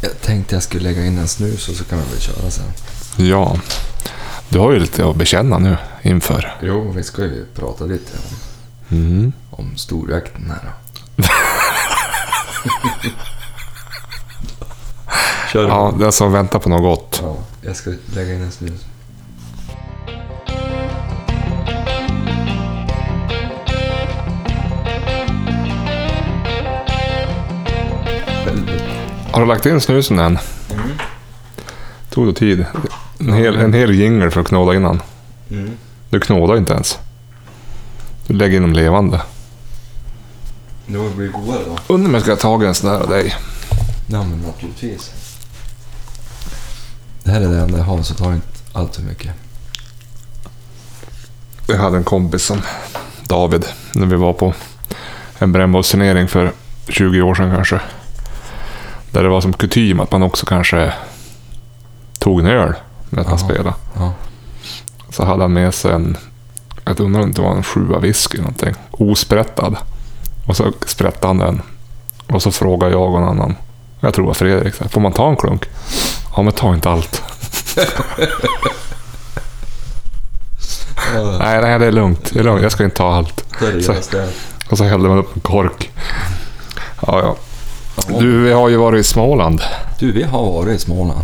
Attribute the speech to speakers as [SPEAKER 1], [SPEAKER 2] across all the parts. [SPEAKER 1] Jag tänkte jag skulle lägga in en snus och så kan vi väl köra sen.
[SPEAKER 2] Ja. Du har ju lite att bekänna nu inför.
[SPEAKER 1] Jo, vi ska ju prata lite
[SPEAKER 2] Mm.
[SPEAKER 1] om, om storjakten här. Kör.
[SPEAKER 2] Ja, den som väntar på något gott.
[SPEAKER 1] Ja, jag ska lägga in en snus.
[SPEAKER 2] Har du lagt in snusen än?
[SPEAKER 1] Mm.
[SPEAKER 2] Tog det tid? En hel, en hel jingle för att knåda innan.
[SPEAKER 1] Mm.
[SPEAKER 2] Du knådar inte ens. Du lägger in dem levande.
[SPEAKER 1] Nu blir det godare då.
[SPEAKER 2] Undrar om jag ska ha tagit en sån där av dig.
[SPEAKER 1] Ja, men naturligtvis. Det här är det enda jag har, så ta inte allt för mycket.
[SPEAKER 2] Jag hade en kompis som David, när vi var på en brännbollsturnering för 20 år sedan kanske. Där det var som kutym att man också kanske tog en öl med att man
[SPEAKER 1] Jaha.
[SPEAKER 2] spelade.
[SPEAKER 1] Ja.
[SPEAKER 2] Så hade han med sig en, jag undrar om det inte var en sjua whisky eller någonting, osprättad. Och så sprättade han den. Och så frågade jag och en annan, jag tror det var Fredrik, så här, får man ta en klunk? Ja, men ta inte allt. Nej, nej, det är lugnt. Det är lugnt. Jag ska inte ta allt.
[SPEAKER 1] Seriöst det.
[SPEAKER 2] Och så hällde man upp en kork. Ja, ja. Du, vi har ju varit i Småland.
[SPEAKER 1] Du, vi har varit i Småland.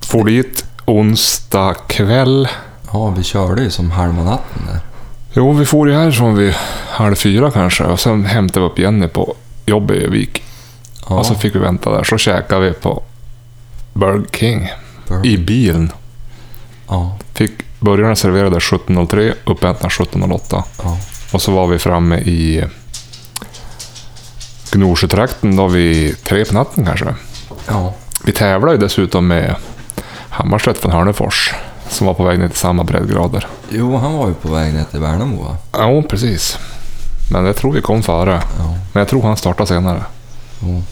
[SPEAKER 2] For dit onsdag kväll.
[SPEAKER 1] Ja, vi körde ju som halva natten där.
[SPEAKER 2] Jo, vi for ju härifrån vid halv fyra kanske och sen hämtade vi upp Jenny på jobbet i Övik.
[SPEAKER 1] Ja,
[SPEAKER 2] Och så fick vi vänta där. Så käkade vi på Burger King
[SPEAKER 1] för-
[SPEAKER 2] i bilen.
[SPEAKER 1] ja,
[SPEAKER 2] Fick burgarna serverade 17.03, uppätna 17.08.
[SPEAKER 1] ja.
[SPEAKER 2] Och så var vi framme i Gnosjötrakten då vid tre på natten kanske.
[SPEAKER 1] ja.
[SPEAKER 2] Vi tävlade ju dessutom med Hammarstedt från Hörnefors som var på väg ner till samma breddgrader.
[SPEAKER 1] Jo, han var ju på väg ner till Värnamo va?
[SPEAKER 2] Ja, precis. Men jag tror vi kom före.
[SPEAKER 1] Ja.
[SPEAKER 2] Men jag tror han startade senare.
[SPEAKER 1] Jo.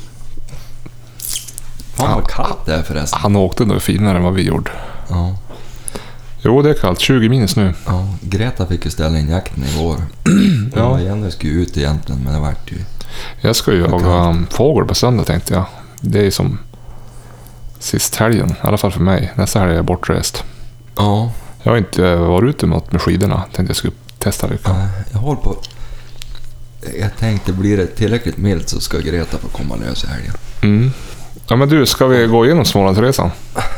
[SPEAKER 1] Fan vad kallt det är förresten.
[SPEAKER 2] Han åkte nog finare än vad vi gjorde.
[SPEAKER 1] Ja,
[SPEAKER 2] Jo, det är kallt. 20 minus nu.
[SPEAKER 1] ja. Greta fick ju ställa in jakten igår.
[SPEAKER 2] Ja.
[SPEAKER 1] Ja. Jenny skulle ju ut egentligen, men det vart ju...
[SPEAKER 2] Jag ska ju
[SPEAKER 1] är
[SPEAKER 2] jaga um, fågel på söndag tänkte jag. Det är ju som sist helgen, i alla fall för mig. Nästa helg är jag bortrest.
[SPEAKER 1] Ja,
[SPEAKER 2] Jag har inte eh, varit ute med något med skidorna. Tänkte jag skulle testa lyckan.
[SPEAKER 1] nej, jag håller på... Jag tänkte, blir det tillräckligt milt så ska Greta få komma lös i helgen.
[SPEAKER 2] Mm. Ja, men du, ska vi gå igenom Smålandsresan?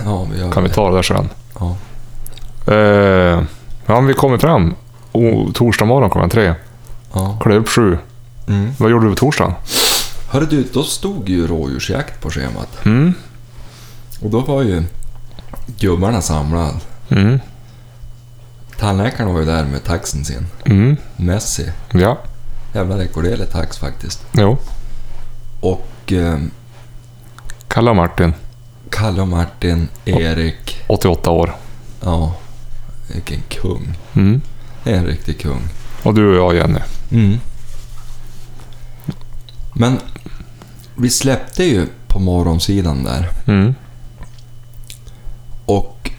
[SPEAKER 1] Ja, vi gör
[SPEAKER 2] Kan vi
[SPEAKER 1] det.
[SPEAKER 2] ta det där sen?
[SPEAKER 1] Ja.
[SPEAKER 2] Eh, ja, men vi kommer fram. O, torsdag morgon klockan tre.
[SPEAKER 1] ja.
[SPEAKER 2] Klä upp sju.
[SPEAKER 1] Mm.
[SPEAKER 2] Vad gjorde du på torsdagen?
[SPEAKER 1] Hörru du, då stod ju rådjursjakt på schemat.
[SPEAKER 2] Mm.
[SPEAKER 1] Och då var ju gubbarna samlade.
[SPEAKER 2] Mm.
[SPEAKER 1] Tandläkaren var ju där med taxen sin.
[SPEAKER 2] Mm.
[SPEAKER 1] Messi.
[SPEAKER 2] Ja.
[SPEAKER 1] Jävla rekorderlig tax faktiskt.
[SPEAKER 2] Jo.
[SPEAKER 1] Och eh,
[SPEAKER 2] Kalle och Martin,
[SPEAKER 1] Kalle och Martin, Erik.
[SPEAKER 2] 88 år.
[SPEAKER 1] Ja, vilken kung.
[SPEAKER 2] Mm.
[SPEAKER 1] Det är en riktig kung.
[SPEAKER 2] Och du och jag, Jenny.
[SPEAKER 1] Mm. Men vi släppte ju på morgonsidan där.
[SPEAKER 2] Mm.
[SPEAKER 1] Och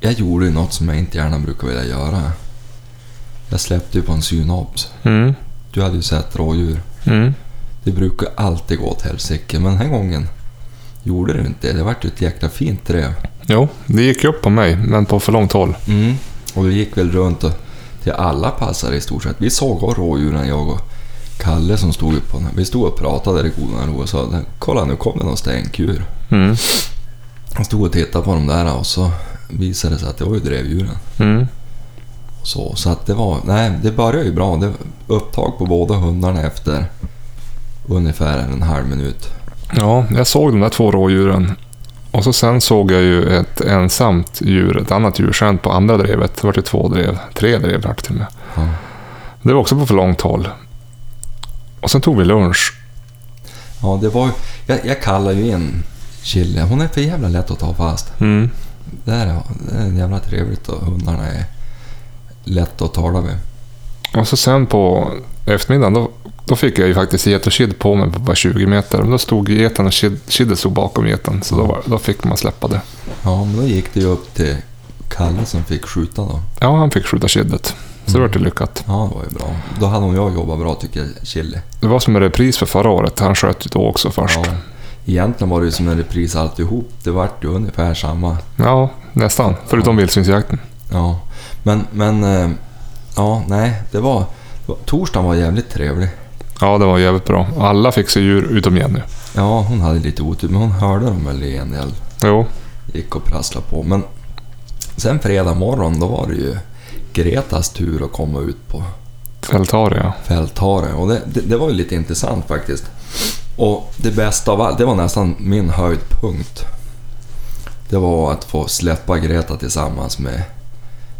[SPEAKER 1] jag gjorde ju något som jag inte gärna brukar vilja göra. Jag släppte ju på en synobs.
[SPEAKER 2] Mm.
[SPEAKER 1] Du hade ju sett rådjur.
[SPEAKER 2] Mm.
[SPEAKER 1] Det brukar alltid gå åt helsike, men den här gången gjorde det inte. Det vart ju ett jäkla fint drev.
[SPEAKER 2] Jo, det gick ju upp på mig, men på för långt håll.
[SPEAKER 1] Mm. Och vi gick väl runt och till alla passare i stort sett. Vi såg av rådjuren, jag och Kalle som stod upp på den. Vi stod och pratade där i godan ro och sa “Kolla nu kom det någon stänkur”.
[SPEAKER 2] Mm.
[SPEAKER 1] Han stod och tittade på dem där och så visade det sig att det var ju drevdjuren.
[SPEAKER 2] Mm.
[SPEAKER 1] Och Så, så att det var... Nej, det började ju bra. Det var upptag på båda hundarna efter ungefär en halv minut.
[SPEAKER 2] Ja, jag såg de där två rådjuren. Och så sen såg jag ju ett ensamt djur, ett annat djurkänt på andra drevet. Det var ju två drev, tre drev vart det till och med.
[SPEAKER 1] Ja.
[SPEAKER 2] Det var också på för långt håll. Och sen tog vi lunch.
[SPEAKER 1] Ja, det var ju- jag, jag kallar ju in Chille. Hon är för jävla lätt att ta fast.
[SPEAKER 2] Mm.
[SPEAKER 1] Det är, det är jävla trevligt och hundarna är lätt att tala med.
[SPEAKER 2] Och så sen på eftermiddagen, då, då fick jag ju faktiskt get och kid på mig på bara 20 meter. Men då stod geten och kid, kidden stod bakom geten, så då, var, då fick man släppa det.
[SPEAKER 1] Ja, men då gick det ju upp till Kalle som fick skjuta då.
[SPEAKER 2] Ja, han fick skjuta kiddet. Så det var det lyckat.
[SPEAKER 1] Ja, det var ju bra. Då hade hon jag jobbat bra tycker jag, Chille.
[SPEAKER 2] Det var som en repris för förra året. Han sköt ju då också först.
[SPEAKER 1] Ja. Egentligen var det ju som en repris alltihop. Det vart ju ungefär samma.
[SPEAKER 2] Ja, nästan. Förutom vildsvinsjakten.
[SPEAKER 1] Ja, men... men eh, ja, nej. Det var... det var- Torsdagen var jävligt trevlig.
[SPEAKER 2] Ja, det var jävligt bra. Alla fick sig djur utom Jenny.
[SPEAKER 1] Ja, hon hade lite otur, men hon hörde dem väl i en del.
[SPEAKER 2] Jo,
[SPEAKER 1] Gick och prasslade på. Men sen fredag morgon, då var det ju Gretas tur att komma ut på
[SPEAKER 2] Fältaria.
[SPEAKER 1] fälthare. Och det, det, det var ju lite intressant faktiskt. Och det bästa av allt, det var nästan min höjdpunkt. Det var att få släppa Greta tillsammans med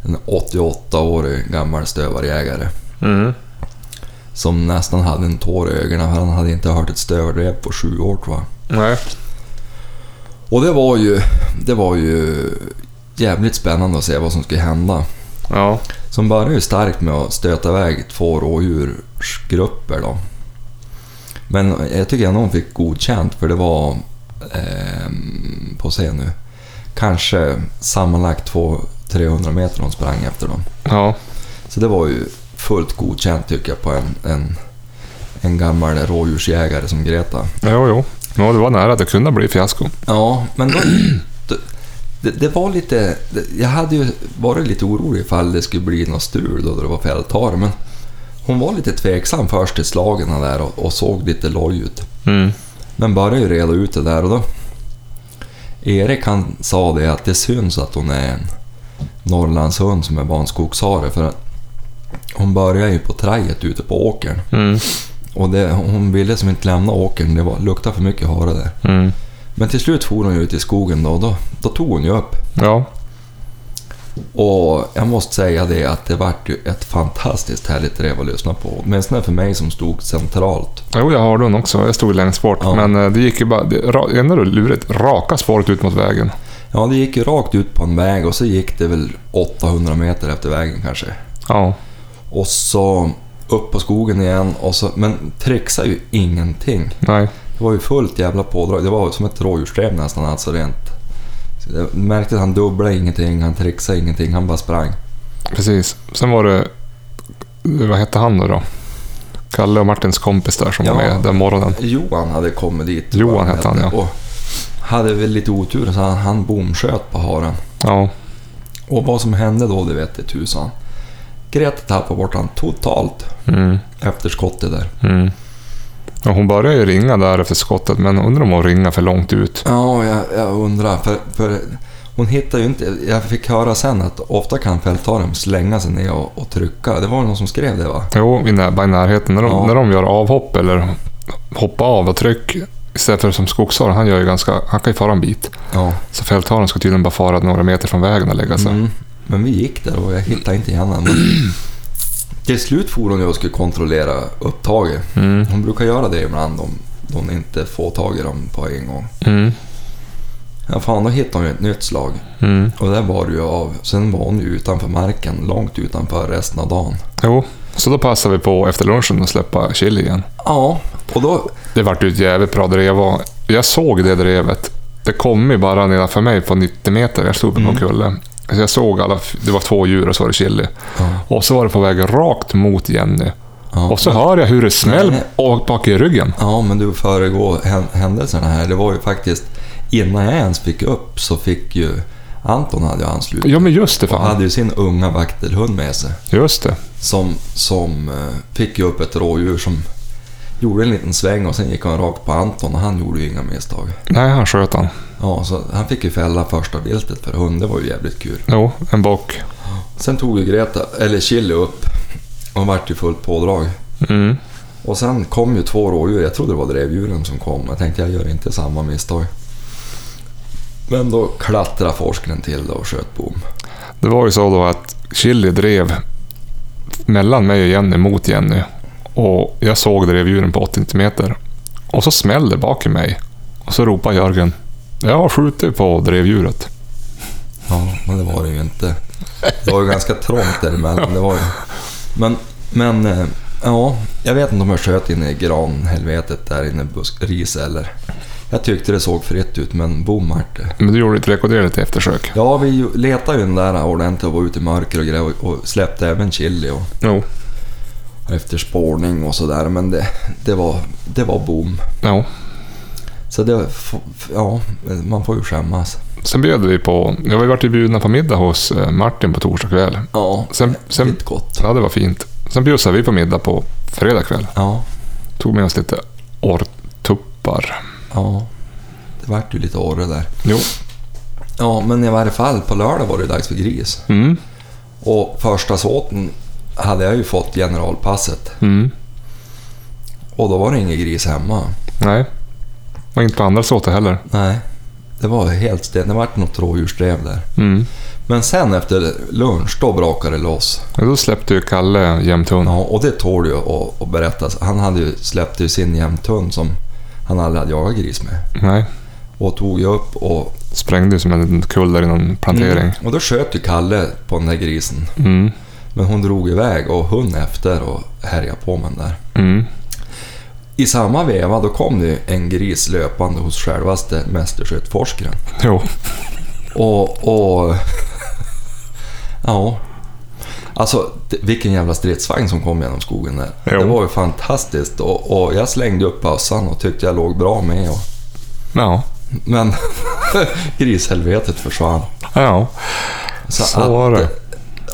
[SPEAKER 1] en 88-årig gammal stövarjägare.
[SPEAKER 2] Mm.
[SPEAKER 1] Som nästan hade en tår i ögonen för han hade inte hört ett stövardrev på sju år tror jag.
[SPEAKER 2] Nej.
[SPEAKER 1] Och det var ju, det var ju jävligt spännande att se vad som skulle hända.
[SPEAKER 2] Ja.
[SPEAKER 1] Som började ju starkt med att stöta iväg två rådjursgrupper då. Men jag tycker ändå hon fick godkänt för det var, ehm, på se nu, kanske sammanlagt 200-300 meter hon sprang efter dem.
[SPEAKER 2] Ja.
[SPEAKER 1] Så det var ju fullt godkänt tycker jag på en, en, en gammal rådjursjägare som Greta.
[SPEAKER 2] Jo, jo. Ja, det var nära att det kunde bli fiasko.
[SPEAKER 1] Ja, men då, då, det, det var lite... det- Jag hade ju varit lite orolig ifall det skulle bli något strul då det var fälthare, men hon var lite tveksam först till slagen där och, och såg lite loj ut.
[SPEAKER 2] Mm.
[SPEAKER 1] Men började ju reda ut det där och då... Erik han sa det att det syns att hon är en Norrlandshund som är banskogshare för att hon börjar ju på trajet ute på åkern
[SPEAKER 2] Mm.
[SPEAKER 1] och det, hon ville som inte lämna åkern, det var, luktade för mycket hare där.
[SPEAKER 2] Mm.
[SPEAKER 1] Men till slut for hon ju ut i skogen då, och då, då tog hon ju upp.
[SPEAKER 2] Ja.
[SPEAKER 1] Och jag måste säga det att det vart ju ett fantastiskt härligt rev att lyssna på. Åtminstone för mig som stod centralt.
[SPEAKER 2] Jo, jag har den också. Jag stod längst bort.
[SPEAKER 1] Ja.
[SPEAKER 2] Men eh, det gick ju bara... Det, ra, ändå lurigt. Raka spåret ut mot vägen.
[SPEAKER 1] Ja, det gick ju rakt ut på en väg och så gick det väl 800 meter efter vägen kanske.
[SPEAKER 2] Ja.
[SPEAKER 1] Och så upp på skogen igen och så... Men trixade ju ingenting.
[SPEAKER 2] Nej.
[SPEAKER 1] Det var ju fullt jävla pådrag. Det var som ett rådjursdrev nästan alltså rent. Så Jag märkte att han dubblade ingenting, han trixade ingenting, han bara sprang.
[SPEAKER 2] Precis. Sen var det... Vad hette han nu då? Kalle och Martins kompis där som
[SPEAKER 1] Ja.
[SPEAKER 2] var med den morgonen.
[SPEAKER 1] Johan hade kommit dit.
[SPEAKER 2] Johan hette han, ja.
[SPEAKER 1] Och hade väl lite otur så han, han bomsköt på haren.
[SPEAKER 2] Ja.
[SPEAKER 1] Och vad som hände då, det vet det tusan. Greta tappade bort han totalt
[SPEAKER 2] Mm.
[SPEAKER 1] efter skottet där.
[SPEAKER 2] Mm. Ja, hon började ju ringa där efter skottet, men undrar om hon ringar för långt ut.
[SPEAKER 1] Ja, jag, jag undrar. För, för hon hittar ju inte... Jag fick höra sen att ofta kan fältaren slänga sig ner och, och trycka. Det var någon som skrev det va?
[SPEAKER 2] Jo, i, när, bara i närheten. När de,
[SPEAKER 1] Ja.
[SPEAKER 2] när de gör avhopp eller hoppa av och tryck, istället för som skogsharen, han, gör ju ganska, han kan ju fara en bit.
[SPEAKER 1] Ja.
[SPEAKER 2] Så fältharen ska tydligen bara fara några meter från vägen och lägga sig.
[SPEAKER 1] Mm. Men vi gick där och jag hittade inte igen honom. Men Till slut for hon ju och skulle kontrollera upptaget.
[SPEAKER 2] Mm.
[SPEAKER 1] Hon brukar göra det ibland om de, inte får tag i dem på en gång.
[SPEAKER 2] Mm.
[SPEAKER 1] Ja, fan, då hittade hon ju ett nytt slag.
[SPEAKER 2] Mm.
[SPEAKER 1] Och där var det ju av. Sen var hon ju utanför marken, långt utanför resten av dagen.
[SPEAKER 2] Jo, så då passar vi på efter lunchen att släppa chili igen.
[SPEAKER 1] Ja, och då...
[SPEAKER 2] Det vart ju ett jävligt bra drev och jag såg det drevet. Det kom ju bara nedanför mig på 90 meter. Jag stod på någon
[SPEAKER 1] Mm.
[SPEAKER 2] kulle. Så jag såg alla, det var två djur och så var det chili.
[SPEAKER 1] Ja,
[SPEAKER 2] Och så var det på väg rakt mot Jenny.
[SPEAKER 1] ja.
[SPEAKER 2] Och så hör jag hur det smäll
[SPEAKER 1] Nej,
[SPEAKER 2] och bak i ryggen.
[SPEAKER 1] ja men du föregår hän- händelserna här. Det var ju faktiskt... Innan jag ens fick upp så fick ju... Anton hade ju anslutit.
[SPEAKER 2] Ja, men just det fan.
[SPEAKER 1] hade ju sin unga vaktelhund med sig.
[SPEAKER 2] Just det.
[SPEAKER 1] Som, som eh, fick ju upp ett rådjur som gjorde en liten sväng och sen gick han rakt på Anton och han gjorde ju inga misstag.
[SPEAKER 2] Nej, han sköt han.
[SPEAKER 1] Ja, så han fick ju fälla första viltet för hund, det var ju jävligt kul.
[SPEAKER 2] Jo, en bock.
[SPEAKER 1] Sen tog ju Greta, eller Chili upp och vart ju fullt pådrag.
[SPEAKER 2] Mm.
[SPEAKER 1] Och sen kom ju två rådjur, jag trodde det var drevdjuren som kom. Jag tänkte jag gör inte samma misstag. Men då klättrade forskaren till och sköt bom.
[SPEAKER 2] Det var ju så då att Chili drev mellan mig och Jenny mot Jenny. Och jag såg drevdjuren på 80 meter. Och så smällde det bak i mig. Och så ropar Jörgen. Jag har skjutit på drevdjuret.
[SPEAKER 1] Ja, men det var det ju inte. Det var ju ganska trångt däremellan. Det var ju... Men, men eh, ja, jag vet inte om jag sköt in i granhelvetet där inne i busk- ris eller... Jag tyckte det såg fritt ut, men bom vart det.
[SPEAKER 2] Men du gjorde ett rekorderligt eftersök.
[SPEAKER 1] Ja, vi ju- letade ju den där ordentligt och var ute i mörker och gräv och släppte även chili och
[SPEAKER 2] Jo.
[SPEAKER 1] efter spårning och sådär. Men det, det, var, det var bom.
[SPEAKER 2] Jo.
[SPEAKER 1] Så det, f- f- ja, man får ju skämmas.
[SPEAKER 2] Sen bjöd vi på... Ja, vi vart ju bjudna på middag hos eh, Martin på torsdag kväll.
[SPEAKER 1] Ja,
[SPEAKER 2] Sen, sen,
[SPEAKER 1] riktigt gott.
[SPEAKER 2] ja, det var fint. Sen bjussade vi på middag på fredag kväll.
[SPEAKER 1] Ja,
[SPEAKER 2] Tog med oss lite orrtuppar.
[SPEAKER 1] ja. Det vart ju lite orre där.
[SPEAKER 2] Jo.
[SPEAKER 1] Ja, men i varje fall på lördag var det dags för gris.
[SPEAKER 2] Mm.
[SPEAKER 1] Och första såten hade jag ju fått generalpasset.
[SPEAKER 2] Mm.
[SPEAKER 1] Och då var det ingen gris hemma.
[SPEAKER 2] Nej. Och inte på andra såter heller.
[SPEAKER 1] Nej, det var helt stelt. Det vart något rådjursdrev där.
[SPEAKER 2] Mm.
[SPEAKER 1] Men sen efter lunch, då brakade det loss.
[SPEAKER 2] Ja, Då släppte ju Kalle jämthund.
[SPEAKER 1] Ja, och det tål ju att, att berätta. Han hade ju, släppte ju sin jämthund som han aldrig hade jagat gris med.
[SPEAKER 2] Nej.
[SPEAKER 1] Och tog ju upp och... Mm.
[SPEAKER 2] Sprängde ju som en kull där i någon plantering.
[SPEAKER 1] Och då sköt ju Kalle på den där grisen.
[SPEAKER 2] Mm.
[SPEAKER 1] Men hon drog iväg och hon efter och härjade på med den där.
[SPEAKER 2] Mm.
[SPEAKER 1] I samma veva då kom det ju en gris löpande hos självaste mästerskyttforskaren.
[SPEAKER 2] Jo.
[SPEAKER 1] Och... och ja. Alltså, det- vilken jävla stridsvagn som kom genom skogen där.
[SPEAKER 2] Jo.
[SPEAKER 1] Det var ju fantastiskt och, och jag slängde upp bössan och tyckte jag låg bra med. Och,
[SPEAKER 2] Ja.
[SPEAKER 1] men grishelvetet försvann.
[SPEAKER 2] Ja.
[SPEAKER 1] Så
[SPEAKER 2] Så var det.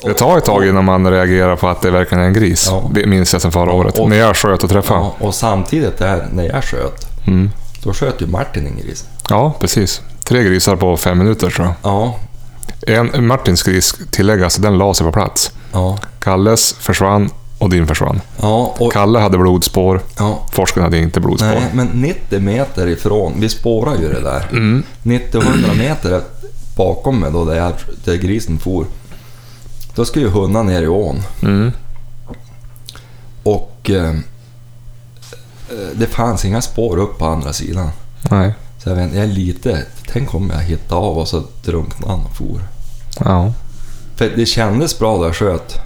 [SPEAKER 2] Det tar ett tag innan man reagerar på att det verkligen är en gris.
[SPEAKER 1] Ja.
[SPEAKER 2] Det minns jag sen förra året.
[SPEAKER 1] och-
[SPEAKER 2] när jag sköt och träffade.
[SPEAKER 1] Ja, och samtidigt där, när jag sköt,
[SPEAKER 2] Mm.
[SPEAKER 1] då sköt ju Martin en gris.
[SPEAKER 2] Ja, precis. Tre grisar på fem minuter tror jag.
[SPEAKER 1] Ja,
[SPEAKER 2] En Martins gris tilläggas, den la sig på plats.
[SPEAKER 1] ja,
[SPEAKER 2] Kalles försvann och din försvann.
[SPEAKER 1] ja. Och,
[SPEAKER 2] Kalle hade blodspår,
[SPEAKER 1] ja
[SPEAKER 2] forskaren hade inte blodspår.
[SPEAKER 1] nej, men 90 meter ifrån, vi spårar ju det där.
[SPEAKER 2] Mm.
[SPEAKER 1] 90-100 meter bakom mig då, där, jag, där grisen for, då ska ju hundarna ner i ån.
[SPEAKER 2] Mm.
[SPEAKER 1] Och eh, det fanns inga spår upp på andra sidan.
[SPEAKER 2] Nej.
[SPEAKER 1] Så jag vet inte, jag är lite... Tänk om jag hittar av och så drunknade han och for.
[SPEAKER 2] Ja.
[SPEAKER 1] För det kändes bra där jag sköt.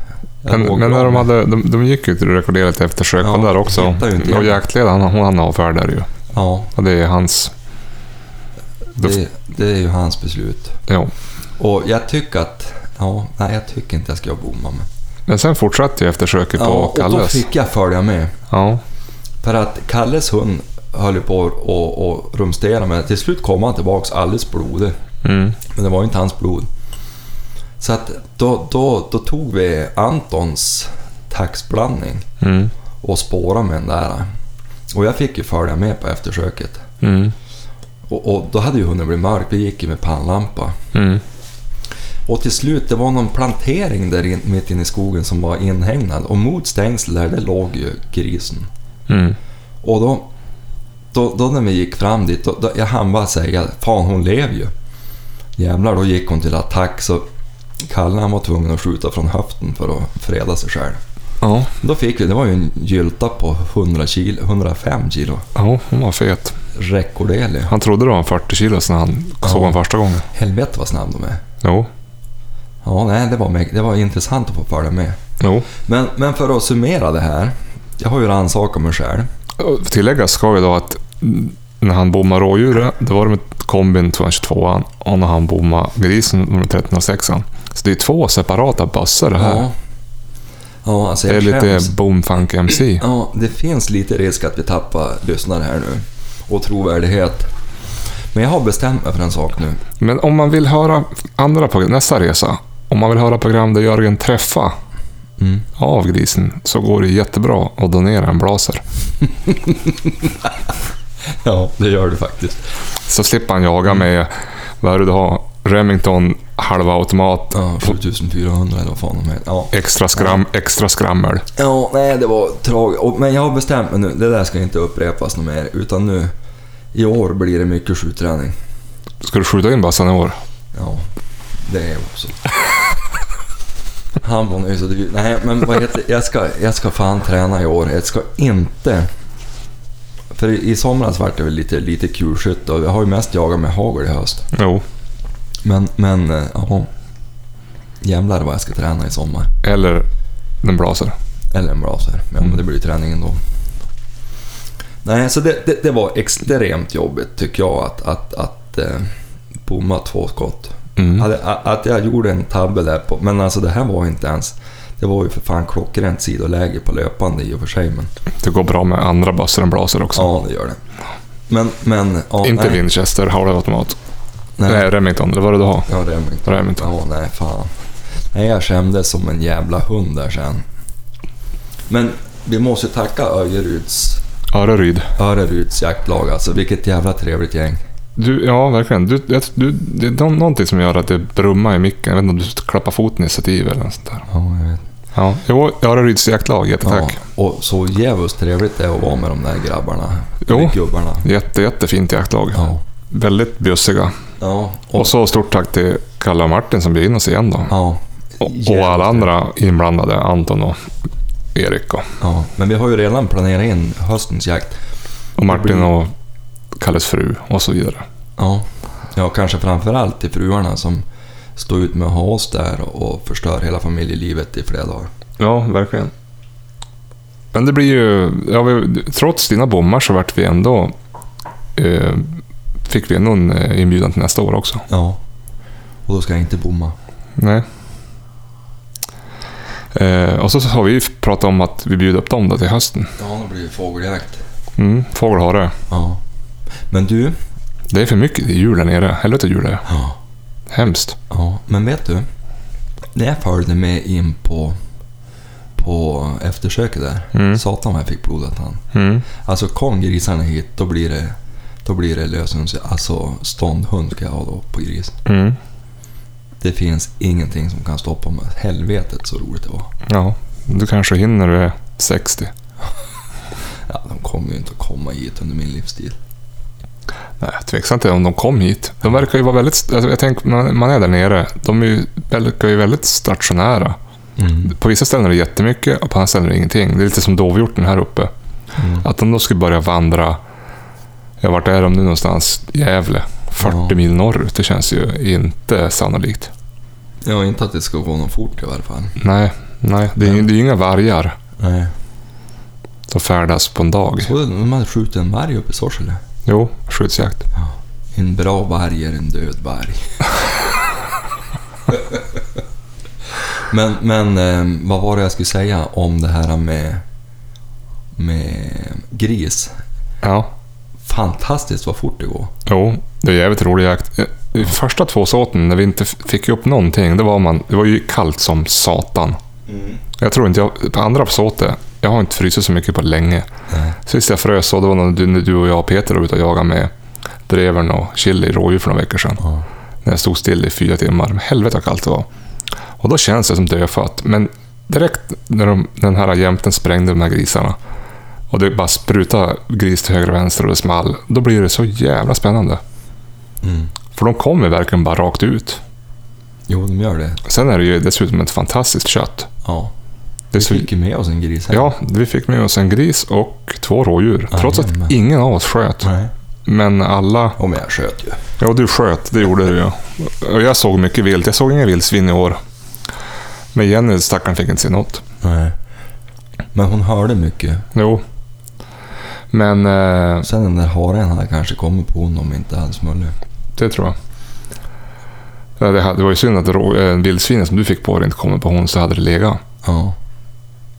[SPEAKER 1] Jag
[SPEAKER 2] Men,
[SPEAKER 1] låg
[SPEAKER 2] men
[SPEAKER 1] bra
[SPEAKER 2] när de,
[SPEAKER 1] med.
[SPEAKER 2] hade, de, de gick ju till rekorderat eftersök
[SPEAKER 1] Ja,
[SPEAKER 2] ja, där också.
[SPEAKER 1] hittar ju inte
[SPEAKER 2] Och
[SPEAKER 1] igen.
[SPEAKER 2] jaktledaren, hon han avfärdar ju.
[SPEAKER 1] Ja,
[SPEAKER 2] Och det är hans... Då-
[SPEAKER 1] det, det är ju hans beslut.
[SPEAKER 2] Jo.
[SPEAKER 1] Och jag tycker att... Ja, nej jag tycker inte jag ska bomma men...
[SPEAKER 2] Men sen fortsatte ju eftersöket
[SPEAKER 1] Ja,
[SPEAKER 2] på
[SPEAKER 1] och då
[SPEAKER 2] Kalles.
[SPEAKER 1] fick jag följa med.
[SPEAKER 2] Ja.
[SPEAKER 1] För att Kalles hund höll ju på och, och rumstera men till slut kom han tillbaks alldeles blodig.
[SPEAKER 2] Mm.
[SPEAKER 1] Men det var ju inte hans blod. Så att då, då, då tog vi Antons taxblandning
[SPEAKER 2] Mm.
[SPEAKER 1] och spårade med den där. Och jag fick ju följa med på eftersöket.
[SPEAKER 2] Mm.
[SPEAKER 1] Och, och då hade ju hunden blivit mörk, vi gick ju med pannlampa.
[SPEAKER 2] Mm.
[SPEAKER 1] Och till slut, det var någon plantering där in, mitt inne i skogen som var inhägnad och mot stängsel där, det låg ju grisen.
[SPEAKER 2] Mm.
[SPEAKER 1] Och då, då, då när vi gick fram dit, då, då, jag hann bara säga fan hon lever ju. Jävlar, då gick hon till attack så Kalle han var tvungen att skjuta från höften för att freda sig själv.
[SPEAKER 2] Ja.
[SPEAKER 1] Då fick vi, det var ju en gylta på 100 kilo, 105 kilo,
[SPEAKER 2] ja, hon var fet.
[SPEAKER 1] rekorderlig.
[SPEAKER 2] Han trodde det var en 40 kilo när han
[SPEAKER 1] Ja.
[SPEAKER 2] såg honom första gången.
[SPEAKER 1] Helvete vad snabb de är.
[SPEAKER 2] Jo.
[SPEAKER 1] Ja, nej, det var, mäk- det var intressant att få följa med.
[SPEAKER 2] Jo.
[SPEAKER 1] Men, men för att summera det här. Jag har ju rannsakat mig själv.
[SPEAKER 2] Och Tilläggas ska ju då att när han bommade rådjuret, då var det med kombin 222an och när han bommade grisen var det 1306an. Så det är två separata bössor det här.
[SPEAKER 1] Ja. Ja, alltså
[SPEAKER 2] det är
[SPEAKER 1] jag
[SPEAKER 2] lite
[SPEAKER 1] skäms.
[SPEAKER 2] boomfunk MC.
[SPEAKER 1] Ja, det finns lite risk att vi tappar lyssnare här nu. Och trovärdighet. Men jag har bestämt mig för en sak nu.
[SPEAKER 2] Men om man vill höra andra program, nästa resa, om man vill höra program där Jörgen träffar
[SPEAKER 1] Mm.
[SPEAKER 2] av grisen så går det jättebra att donera en blaser.
[SPEAKER 1] Ja, det gör du faktiskt.
[SPEAKER 2] Så slipper han jaga
[SPEAKER 1] Mm.
[SPEAKER 2] med, vad är det du har, Remington halvautomat,
[SPEAKER 1] Ja, 7400 eller vad fan de heter. Ja.
[SPEAKER 2] extra, skram, extra skrammel.
[SPEAKER 1] ja, nej det var tragiskt. Men jag har bestämt mig nu. Det där ska inte upprepas något mer. Utan nu, i år blir det mycket skjutträning.
[SPEAKER 2] Ska du skjuta in bössan i år?
[SPEAKER 1] Ja, det är jag också. Han var nu så dyr. Nej, men vad heter jag ska, jag ska fan träna i år. Jag ska inte... För i i somras vart det väl lite, lite kulskytt och jag har ju mest jagat med hagel i höst.
[SPEAKER 2] Jo.
[SPEAKER 1] Men, men eh, ja. Jävlar vad jag ska träna i sommar.
[SPEAKER 2] Eller den blaser.
[SPEAKER 1] Eller en blaser. Ja, men det
[SPEAKER 2] Mm.
[SPEAKER 1] blir ju träning ändå. Nej, så det, det, det var extremt jobbigt tycker jag att, att, att eh, bomma två skott.
[SPEAKER 2] Mm.
[SPEAKER 1] Hade- a- Att jag gjorde en tabbe där på, men alltså det här var inte ens... Det var ju för fan klockrent sidoläge på löpande i och för sig, men
[SPEAKER 2] Det går bra med andra bössor än blaser också.
[SPEAKER 1] ja, det gör det. Men, men... Ja,
[SPEAKER 2] inte
[SPEAKER 1] nej,
[SPEAKER 2] Winchester, halvautomat. Nej.
[SPEAKER 1] nej.
[SPEAKER 2] Remington, eller vad det du har.
[SPEAKER 1] Ja, Remington.
[SPEAKER 2] Remington.
[SPEAKER 1] Ja, nej fan. Nej, jag kände som en jävla hund där sen. Men vi måste tacka Öjeruds,
[SPEAKER 2] Öreryd.
[SPEAKER 1] Öreruds jaktlag alltså. Vilket jävla trevligt gäng.
[SPEAKER 2] Du, ja, verkligen. Du, jag- du, det är nå- någonting som gör att det brummar i micken. Jag vet inte om du klappar foten i stativ eller något sånt där.
[SPEAKER 1] Ja, jag vet.
[SPEAKER 2] Ja. Jo, Öreryds jaktlag. Jättetack.
[SPEAKER 1] och så jävligt trevligt det är att vara med de där grabbarna.
[SPEAKER 2] Jo.
[SPEAKER 1] Eller gubbarna.
[SPEAKER 2] Jätte, jättefint jaktlag.
[SPEAKER 1] Ja.
[SPEAKER 2] Väldigt bjussiga.
[SPEAKER 1] Ja.
[SPEAKER 2] Och, så stort tack till Kalle och Martin som bjöd in oss igen då.
[SPEAKER 1] ja.
[SPEAKER 2] och, och alla andra inblandade. Anton och Erik och,
[SPEAKER 1] Ja, men vi har ju redan planerat in höstens jakt.
[SPEAKER 2] och Martin
[SPEAKER 1] blir-
[SPEAKER 2] och Kalles fru och så vidare.
[SPEAKER 1] Ja, ja kanske framförallt till fruarna som står ut med att ha oss där och förstör hela familjelivet i flera dagar.
[SPEAKER 2] Ja, verkligen. Men det blir ju... Ja, vi, trots dina bommar så vart vi ändå... Eh, fick vi ändå en eh, inbjudan till nästa år också.
[SPEAKER 1] Ja. Och då ska jag inte bomma.
[SPEAKER 2] Nej. Eh, och så har vi ju pratat om att vi bjuder upp dem då till hösten.
[SPEAKER 1] Ja, då blir det fågeljakt.
[SPEAKER 2] Mm, fågelhare.
[SPEAKER 1] Ja. Men du.
[SPEAKER 2] Det är för mycket till jul där nere. Helvete jul det är.
[SPEAKER 1] Ja.
[SPEAKER 2] Hemskt.
[SPEAKER 1] ja. Men vet du? När jag följde med in på, på eftersöket där.
[SPEAKER 2] Mm.
[SPEAKER 1] Satan vad jag fick blodet han.
[SPEAKER 2] Mm.
[SPEAKER 1] Alltså kom grisarna hit, då blir det, då blir det lösens... Alltså ståndhund ska jag ha då på gris.
[SPEAKER 2] Mm.
[SPEAKER 1] Det finns ingenting som kan stoppa mig. Helvetet så roligt det var.
[SPEAKER 2] Ja, du kanske hinner när du är 60.
[SPEAKER 1] Ja, de kommer ju inte att komma hit under min livstid.
[SPEAKER 2] Nej, jag tveksamt inte om de kom hit. De verkar ju vara väldigt... Alltså jag tänker, man, man är där nere. De är ju, verkar ju väldigt stationära. På vissa ställen är det jättemycket och på andra ställen är det ingenting. Det är lite som dovhjorten här uppe.
[SPEAKER 1] Mm.
[SPEAKER 2] Att de då skulle börja vandra... Ja, vart är de nu någonstans? Gävle. 40
[SPEAKER 1] Ja.
[SPEAKER 2] mil norrut. Det känns ju inte sannolikt.
[SPEAKER 1] Ja, inte att det ska gå någon fort i varje fall.
[SPEAKER 2] Nej, nej. Det är, ju- det är ju inga vargar
[SPEAKER 1] Nej.
[SPEAKER 2] som färdas på en dag.
[SPEAKER 1] Såg du när man skjuter en varg uppe i Sorsele?
[SPEAKER 2] Jo, skyddsjakt.
[SPEAKER 1] En bra varg är en död varg. men men eh, vad var det jag skulle säga om det här med, med gris?
[SPEAKER 2] Ja.
[SPEAKER 1] Fantastiskt vad fort det går.
[SPEAKER 2] Jo, det är jävligt rolig jakt. Eh, i Första två såten när vi inte f- fick upp någonting, det var, man, det var ju kallt som satan. Jag tror inte jag... På andra såte, jag har inte frysit så mycket på länge.
[SPEAKER 1] Nej.
[SPEAKER 2] Sist jag frös så, det var när du, när du och jag och Peter var ute och jagade med drevern och chili rådjur för några veckor sedan.
[SPEAKER 1] Ja.
[SPEAKER 2] När jag stod still i fyra timmar. Men helvete vad kallt det var. Och då känns det som dödfött. Men direkt när, de, när den här jämten sprängde de här grisarna och det bara sprutade gris till höger och vänster och det small. Då blir det så jävla spännande.
[SPEAKER 1] Mm.
[SPEAKER 2] För de kommer verkligen bara rakt ut.
[SPEAKER 1] Jo, de gör det.
[SPEAKER 2] Sen är det ju dessutom ett fantastiskt kött.
[SPEAKER 1] Ja.
[SPEAKER 2] Det är
[SPEAKER 1] Vi
[SPEAKER 2] så,
[SPEAKER 1] fick ju med oss en gris här.
[SPEAKER 2] ja, vi fick med oss en gris och två rådjur. Trots att
[SPEAKER 1] Jajamän.
[SPEAKER 2] ingen av oss sköt.
[SPEAKER 1] Nej.
[SPEAKER 2] Men alla...
[SPEAKER 1] Ja, men jag sköt ju.
[SPEAKER 2] Ja, du sköt. Det gjorde du ja. Och jag såg mycket vilt. Jag såg inga vildsvin i år. Men Jenny, stackaren, fick inte se något.
[SPEAKER 1] Nej. Men hon hörde mycket.
[SPEAKER 2] Jo. Men eh,
[SPEAKER 1] Sen den där haren hade kanske kommit på honom om inte hade smullit.
[SPEAKER 2] det tror jag. Ja, Det, hade- det var ju synd att rå- eh, vildsvinet som du fick på dig inte kommer på hon så hade det legat.
[SPEAKER 1] Ja.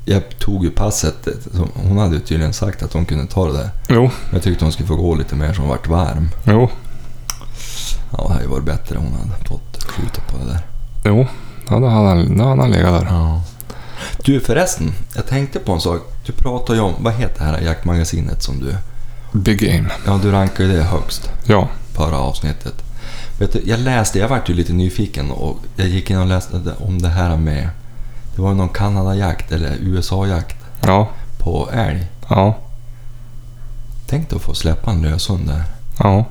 [SPEAKER 1] Jag tog ju passet. som- Hon hade ju tydligen sagt att hon kunde ta det där.
[SPEAKER 2] Jo,
[SPEAKER 1] Men Jag tyckte hon skulle få gå lite mer som vart varm.
[SPEAKER 2] jo,
[SPEAKER 1] Ja, det hade ju varit bättre om hon hade fått skjuta på det där.
[SPEAKER 2] jo. Ja, då hade han, då hade han legat där.
[SPEAKER 1] Ja. Du förresten, jag tänkte på en sak. Du pratar ju om, vad heter det här jaktmagasinet som du...
[SPEAKER 2] Big game.
[SPEAKER 1] Ja, du rankar ju det högst.
[SPEAKER 2] Ja.
[SPEAKER 1] förra avsnittet. Vet du, jag läste, jag vart ju lite nyfiken och jag gick in och läste det- om det här med... Det var ju någon Kanadajakt eller USA-jakt
[SPEAKER 2] Ja.
[SPEAKER 1] på älg.
[SPEAKER 2] Ja.
[SPEAKER 1] Tänk dig att få släppa en löshund där.
[SPEAKER 2] Ja.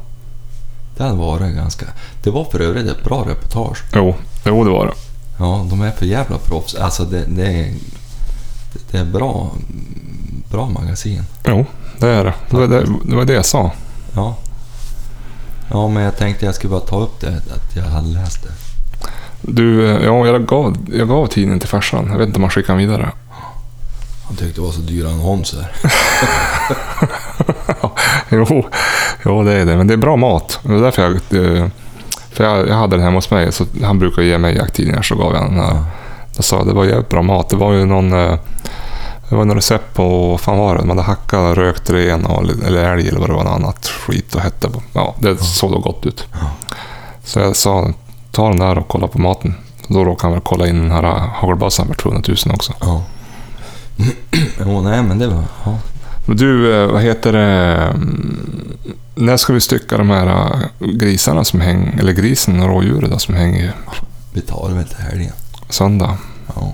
[SPEAKER 1] Det hade varit ganska... Det var för övrigt ett bra reportage.
[SPEAKER 2] Jo. Jo, det var det.
[SPEAKER 1] Ja, de är för jävla proffs. Alltså det, det är... Det är bra... Bra magasin.
[SPEAKER 2] Jo, det är det. Det var det, det, var det jag sa.
[SPEAKER 1] Ja. Ja, men jag tänkte jag skulle bara ta upp det, att jag hade läst det.
[SPEAKER 2] Du, eh, ja, jag gav, jag gav tidningen till farsan. Jag vet inte om han skickade den vidare.
[SPEAKER 1] Han tyckte det var så dyra annonser.
[SPEAKER 2] Jo, jo, det är det. Men det är bra mat. Det är därför jag... eh, För jag, jag hade den hemma hos mig. Så han brukar ge mig jakttidningar, så gav jag den här. Då sa jag, det var jävligt bra mat. Det var ju någon... eh, Det var några recept på, vad fan var det? De hade hackat rökt ren och, eller älg eller vad det var, något annat skit och hette. på. Ja, det såg då gott ut.
[SPEAKER 1] Ja.
[SPEAKER 2] Så jag sa, ta den där och kolla på maten. Då råkade han väl kolla in den här hagelbössan för 200 000 också.
[SPEAKER 1] Ja. Jo, nej men det var... Ja.
[SPEAKER 2] Men du, eh, vad heter det? mm, När ska vi stycka de här eh, grisarna som hänger, eller grisen och rådjuret då, som hänger
[SPEAKER 1] Vi tar det väl till helgen.
[SPEAKER 2] söndag?
[SPEAKER 1] Ja.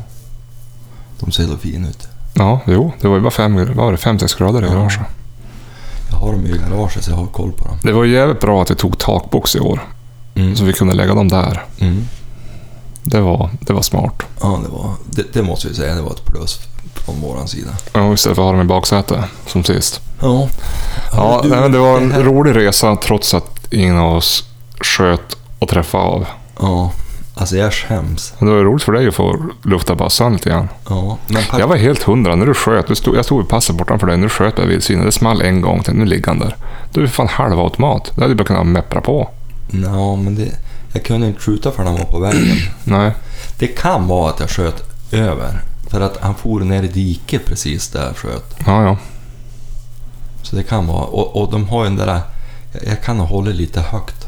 [SPEAKER 1] De ser så fina ut.
[SPEAKER 2] Ja, jo, det var ju bara fem, vad var det, fem, sex grader i
[SPEAKER 1] Ja.
[SPEAKER 2] garaget.
[SPEAKER 1] Jag har dem i garaget så jag har koll på dem.
[SPEAKER 2] Det var ju jävligt bra att vi tog takbox i år,
[SPEAKER 1] Mm.
[SPEAKER 2] så vi kunde lägga dem där.
[SPEAKER 1] Mm.
[SPEAKER 2] Det var, det var smart.
[SPEAKER 1] Ja, det var... Det, det måste vi säga, det var ett plus från våran sida.
[SPEAKER 2] Ja, istället för att ha dem i baksätet, som sist.
[SPEAKER 1] Ja.
[SPEAKER 2] Ja,
[SPEAKER 1] du,
[SPEAKER 2] nej, men det var en
[SPEAKER 1] här-
[SPEAKER 2] rolig resa trots att ingen av oss sköt och träffade av.
[SPEAKER 1] Ja. Alltså jag skäms.
[SPEAKER 2] Men det var ju roligt för dig att få lufta bassan lite grann.
[SPEAKER 1] Ja. Men
[SPEAKER 2] Jag var helt hundra när du sköt. Du stod, jag stod i passet bortanför dig. När du sköt med vildsvinet. Det small en gång. Tänkte, nu ligger han där. Du är ju fan halvautomat. Det hade du bara kunnat meppra på.
[SPEAKER 1] Ja, men det... Jag kunde inte skjuta för han var på vägen.
[SPEAKER 2] Nej.
[SPEAKER 1] Det kan vara att jag sköt över. För att han for ner i diket precis där jag sköt.
[SPEAKER 2] Ja, ja.
[SPEAKER 1] Så det kan vara. Och, och de har ju den där... jag- Jag kan ha hållit lite högt.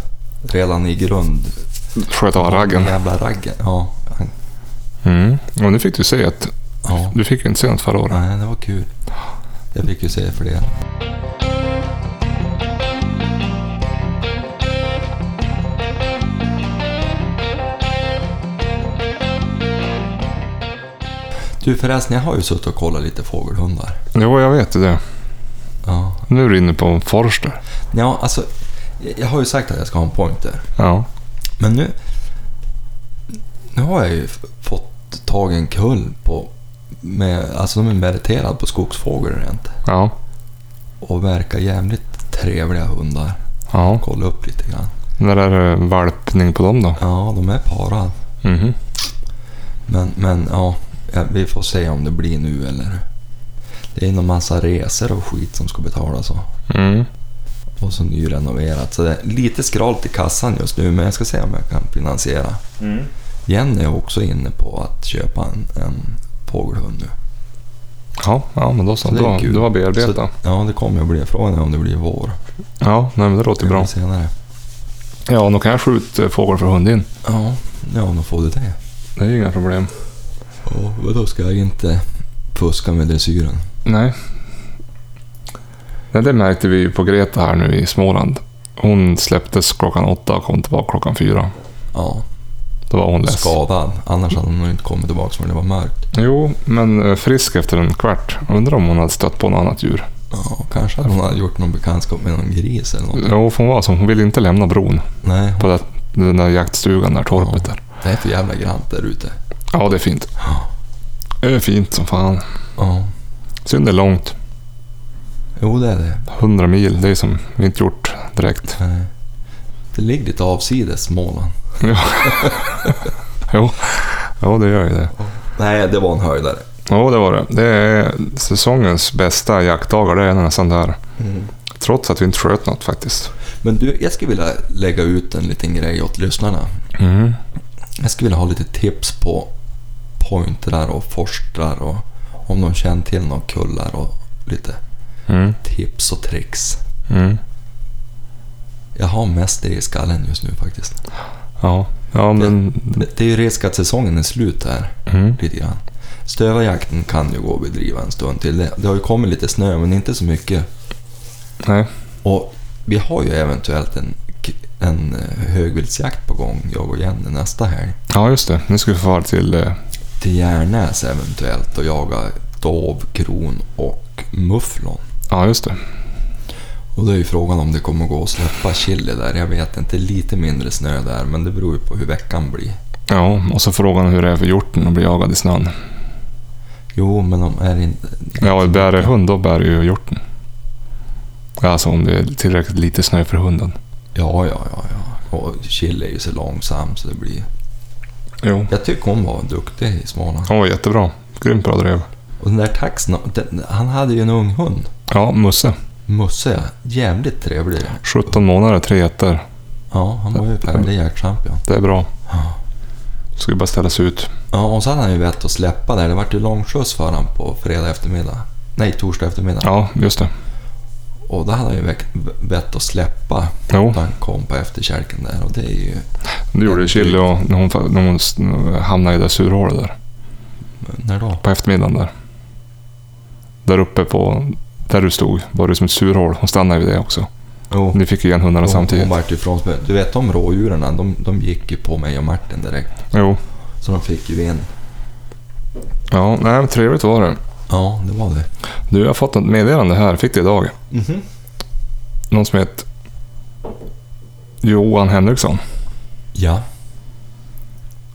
[SPEAKER 1] Redan i grund.
[SPEAKER 2] Sköt av raggen.
[SPEAKER 1] Jävla raggen. Ja.
[SPEAKER 2] Mm. Och nu fick du se ett.
[SPEAKER 1] ja.
[SPEAKER 2] Du fick ju inte se något förra året.
[SPEAKER 1] Nej, det var kul. Jag fick ju se fler. Du förresten, jag har ju suttit och kollat lite fågelhundar.
[SPEAKER 2] Jo, jag vet ju det.
[SPEAKER 1] Ja.
[SPEAKER 2] Nu är du inne på en forster.
[SPEAKER 1] Ja, alltså. Jag har ju sagt att jag ska ha en pointer.
[SPEAKER 2] Ja.
[SPEAKER 1] Men nu... Nu har jag ju f- fått tag i en kull på... Med, alltså de är meriterade på skogsfågel rent.
[SPEAKER 2] Ja.
[SPEAKER 1] Och verkar jävligt trevliga hundar.
[SPEAKER 2] Ja.
[SPEAKER 1] Kolla upp lite grann.
[SPEAKER 2] När är det valpning på dem då?
[SPEAKER 1] Ja, de är parade.
[SPEAKER 2] Mhm.
[SPEAKER 1] Men, men ja, ja, vi får se om det blir nu eller... Det är någon massa resor och skit som ska betalas och,
[SPEAKER 2] Mm.
[SPEAKER 1] och så nyrenoverat. Så det är lite skralt i kassan just nu men jag ska se om jag kan finansiera.
[SPEAKER 2] Mm.
[SPEAKER 1] Jenny är också inne på att köpa en, en fågelhund nu.
[SPEAKER 2] Ja, ja, men då så.
[SPEAKER 1] Så det är
[SPEAKER 2] Då,
[SPEAKER 1] kul.
[SPEAKER 2] du har bearbetat.
[SPEAKER 1] Ja, det kommer att bli. Frågan är om det blir vår.
[SPEAKER 2] Ja, nej, men det låter bra.
[SPEAKER 1] Senare.
[SPEAKER 2] Ja, då kan jag skjuta eh, fågel för hund in.
[SPEAKER 1] Ja, ja, då får du det.
[SPEAKER 2] Det är ju inga problem.
[SPEAKER 1] Och då ska jag inte fuska med dressyren?
[SPEAKER 2] Nej. Nej, det märkte vi ju på Greta här nu i Småland. Hon släpptes klockan åtta och kom tillbaka klockan fyra.
[SPEAKER 1] Ja,
[SPEAKER 2] Då var hon less.
[SPEAKER 1] skadad. Annars hade hon nog inte kommit tillbaka förrän det var mörkt.
[SPEAKER 2] Jo, men eh, frisk efter en kvart. Undrar om hon hade stött på något annat djur.
[SPEAKER 1] Ja, Mm. kanske att hon hade gjort någon bekantskap med någon gris eller något.
[SPEAKER 2] Jo, för hon var så. Hon ville inte lämna bron
[SPEAKER 1] Nej, hon-
[SPEAKER 2] på det, den där jaktstugan, där torpet där.
[SPEAKER 1] det är för jävla grant där ute.
[SPEAKER 2] Ja, det är fint. Det är fint som fan.
[SPEAKER 1] Ja,
[SPEAKER 2] Synd det är långt.
[SPEAKER 1] jo det är det.
[SPEAKER 2] 100 mil, det är som vi inte gjort direkt.
[SPEAKER 1] Nej. Det ligger lite avsides Småland.
[SPEAKER 2] Ja, det gör ju det.
[SPEAKER 1] Nej, det var en höjdare.
[SPEAKER 2] Ja, det var det. Det är säsongens bästa jaktdagar, det är nästan där. Trots att vi inte sköt något faktiskt.
[SPEAKER 1] Men du, jag skulle vilja lägga ut en liten grej åt lyssnarna.
[SPEAKER 2] Mm.
[SPEAKER 1] Jag skulle vilja ha lite tips på pointrar och forstrar och om de känner till några kullar och lite
[SPEAKER 2] Mm.
[SPEAKER 1] tips och tricks.
[SPEAKER 2] Mm.
[SPEAKER 1] Jag har mest det i skallen just nu faktiskt.
[SPEAKER 2] Ja. ja, men...
[SPEAKER 1] Det är ju risk att säsongen är slut här
[SPEAKER 2] Mm.
[SPEAKER 1] lite grann. Stövarjakten kan ju gå att bedriva en stund till. Det, det har ju kommit lite snö men inte så mycket.
[SPEAKER 2] Nej.
[SPEAKER 1] Och vi har ju eventuellt en, en eh, högviltsjakt på gång, jag och Jenny, nästa helg.
[SPEAKER 2] Ja, just det. Nu ska vi få fara till... eh,
[SPEAKER 1] Till Järnäs eventuellt och jaga dov, kron och mufflon.
[SPEAKER 2] Ja, just det.
[SPEAKER 1] Och då är ju frågan om det kommer gå att släppa chili där. Jag vet inte, lite mindre snö där men det beror ju på hur veckan blir.
[SPEAKER 2] Ja, och så frågan hur det är för hjorten att bli jagad i snön.
[SPEAKER 1] Jo, men de är inte...
[SPEAKER 2] Ja, bär det hund, då bär det ju hjorten. Alltså om det är tillräckligt lite snö för hunden.
[SPEAKER 1] Ja, ja, ja, ja. Och chili är ju så långsam så det blir...
[SPEAKER 2] Jo.
[SPEAKER 1] Jag tycker hon var duktig i Småland.
[SPEAKER 2] Han var jättebra. Grymt bra drev.
[SPEAKER 1] Och den där taxen, den- han hade ju en ung hund.
[SPEAKER 2] Ja, Musse.
[SPEAKER 1] Musse, jävligt trevlig.
[SPEAKER 2] 17 månader, tre jätter.
[SPEAKER 1] Ja, han var ju väldigt jaktchampion.
[SPEAKER 2] Det är bra.
[SPEAKER 1] Ja.
[SPEAKER 2] Ska ju bara ställas ut.
[SPEAKER 1] Ja, och sen hade han ju vett att släppa där. Det vart ju lång skjuts för han på fredag eftermiddag. Nej, torsdag eftermiddag.
[SPEAKER 2] Ja, just det.
[SPEAKER 1] Och då hade han ju vett- vett att släppa.
[SPEAKER 2] Jo,
[SPEAKER 1] Han kom på efterkälken där och det är ju...
[SPEAKER 2] det gjorde ju Chili och när hon, fa- när hon s- hamnade i det surhålet där.
[SPEAKER 1] När då?
[SPEAKER 2] På eftermiddagen där. Där uppe på... Där du stod var det som ett surhål. Hon stannade vid det också.
[SPEAKER 1] Jo.
[SPEAKER 2] Ni fick igen hundarna
[SPEAKER 1] Hon, hon
[SPEAKER 2] samtidigt.
[SPEAKER 1] vart ju frånspelad. Du vet de rådjuren, de, de gick ju på mig och Martin direkt.
[SPEAKER 2] Jo.
[SPEAKER 1] Så de fick ju in.
[SPEAKER 2] Ja, nej, men trevligt var det.
[SPEAKER 1] Ja, det var det.
[SPEAKER 2] Du, jag har fått ett meddelande här. Fick det idag. Någon som heter Johan Henriksson.
[SPEAKER 1] Ja.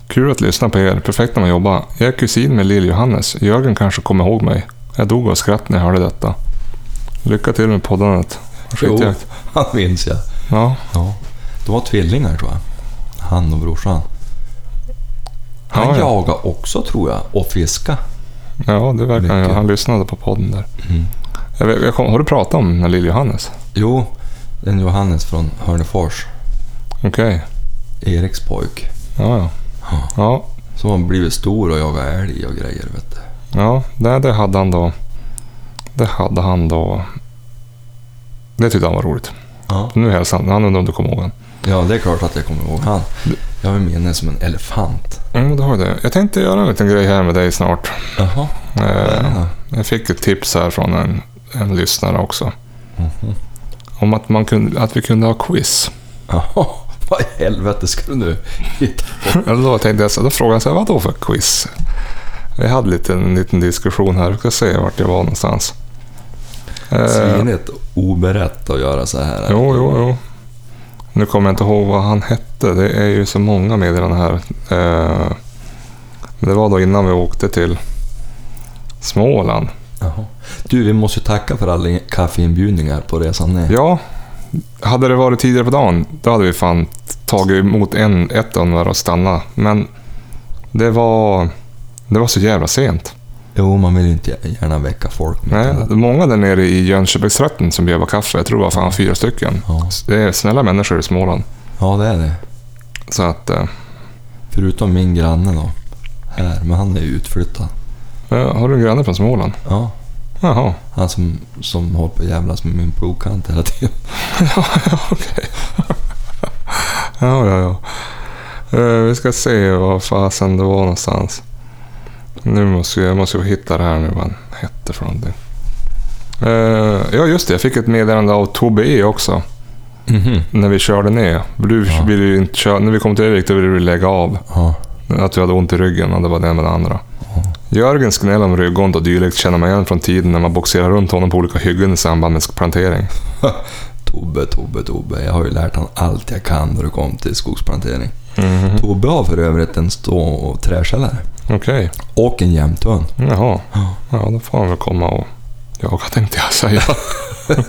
[SPEAKER 2] Kul att lyssna på er. Perfekt när man jobbar. Jag är kusin med Lill-Johannes. Jörgen kanske kommer ihåg mig. Jag dog av skratt när jag hörde detta. Lycka till med poddandet. Skitjakt.
[SPEAKER 1] han minns jag.
[SPEAKER 2] Ja.
[SPEAKER 1] Ja. De var tvillingar tror jag. Han och brorsan. Han
[SPEAKER 2] Ja, ja.
[SPEAKER 1] jagade också tror jag och fiska.
[SPEAKER 2] ja, det verkar han göra.
[SPEAKER 1] Mycket.
[SPEAKER 2] Han lyssnade på podden där.
[SPEAKER 1] Mm.
[SPEAKER 2] Jag vet, jag kom, har du pratat om den Lill-Johannes?
[SPEAKER 1] Jo, den Johannes från Hörnefors,
[SPEAKER 2] Okej.
[SPEAKER 1] Eriks pojk.
[SPEAKER 2] Ja, ja.
[SPEAKER 1] Ja.
[SPEAKER 2] Ja,
[SPEAKER 1] Som har blivit stor och jagat älg och grejer vet du.
[SPEAKER 2] ja det, det hade han då. Det hade han då. Det tyckte han var roligt.
[SPEAKER 1] Ja.
[SPEAKER 2] Nu hälsar han. Han undrar om du kommer ihåg honom.
[SPEAKER 1] ja, det är klart att jag kommer ihåg han. Jag vill minnas som en elefant.
[SPEAKER 2] Mm, det har jag det. Jag tänkte göra en liten grej här med dig snart.
[SPEAKER 1] Jaha.
[SPEAKER 2] Eh,
[SPEAKER 1] Ja.
[SPEAKER 2] Jag fick ett tips här från en, en lyssnare också.
[SPEAKER 1] Mhm.
[SPEAKER 2] Om att, man kunde, att vi kunde ha quiz.
[SPEAKER 1] Jaha. Vad i helvete ska du nu hitta på?
[SPEAKER 2] Eller då tänkte jag så då frågade jag så här, vad då för quiz? Vi hade lite, en liten diskussion här, vi ska se vart jag var någonstans. Eh,
[SPEAKER 1] Svinigt oberett att göra så här.
[SPEAKER 2] jo, jo, jo. Nu kommer jag inte ihåg vad han hette. Det är ju så många meddelanden här. Eh, det var då innan vi åkte till Småland.
[SPEAKER 1] Jaha. Du, vi måste ju tacka för alla kaffeinbjudningar på resan ner.
[SPEAKER 2] Ja, hade det varit tidigare på dagen, då hade vi fan tagit emot en, ett av några och stannat. Men det var, det var så jävla sent.
[SPEAKER 1] Jo, man vill ju inte gärna väcka folk. med
[SPEAKER 2] Nej,
[SPEAKER 1] det.
[SPEAKER 2] det är många där nere i Jönköpingstrakten som bjöd på kaffe. Jag tror det var fan fyra stycken.
[SPEAKER 1] Ja.
[SPEAKER 2] Det är snälla människor i Småland.
[SPEAKER 1] ja, det är det.
[SPEAKER 2] Så att, eh,
[SPEAKER 1] Förutom min granne då. Här, men han är ju utflyttad.
[SPEAKER 2] eh, har du en granne från Småland?
[SPEAKER 1] Ja,
[SPEAKER 2] Jaha,
[SPEAKER 1] han som, som håller på att jävlas med min plogkant hela tiden.
[SPEAKER 2] okej. ja, ja, ja. Eh, vi ska se vad fasen det var någonstans. Nu måste jag, jag måste ju hitta det här nu vad han hette för någonting. Eh, ja, just det. Jag fick ett meddelande av Tobbe E också. När vi körde ner. Du
[SPEAKER 1] Ja.
[SPEAKER 2] ville ju inte köra. När vi kom till Örnsköldsvik då ville du lägga av.
[SPEAKER 1] Ja.
[SPEAKER 2] Att du hade ont i ryggen och det var det ena med det andra. Jörgens gnäll om ryggont och dylikt känner man igen från tiden när man boxerar runt honom på olika hyggen i samband med plantering.
[SPEAKER 1] Tobbe, Tobbe, Tobbe. Jag har ju lärt han allt jag kan när det kom till skogsplantering. Tobbe har för övrigt en stå och träkällare.
[SPEAKER 2] Okej,
[SPEAKER 1] Och en jämthund.
[SPEAKER 2] jaha.
[SPEAKER 1] Ja.
[SPEAKER 2] Ja, då får han väl komma och jaga tänkte jag säga.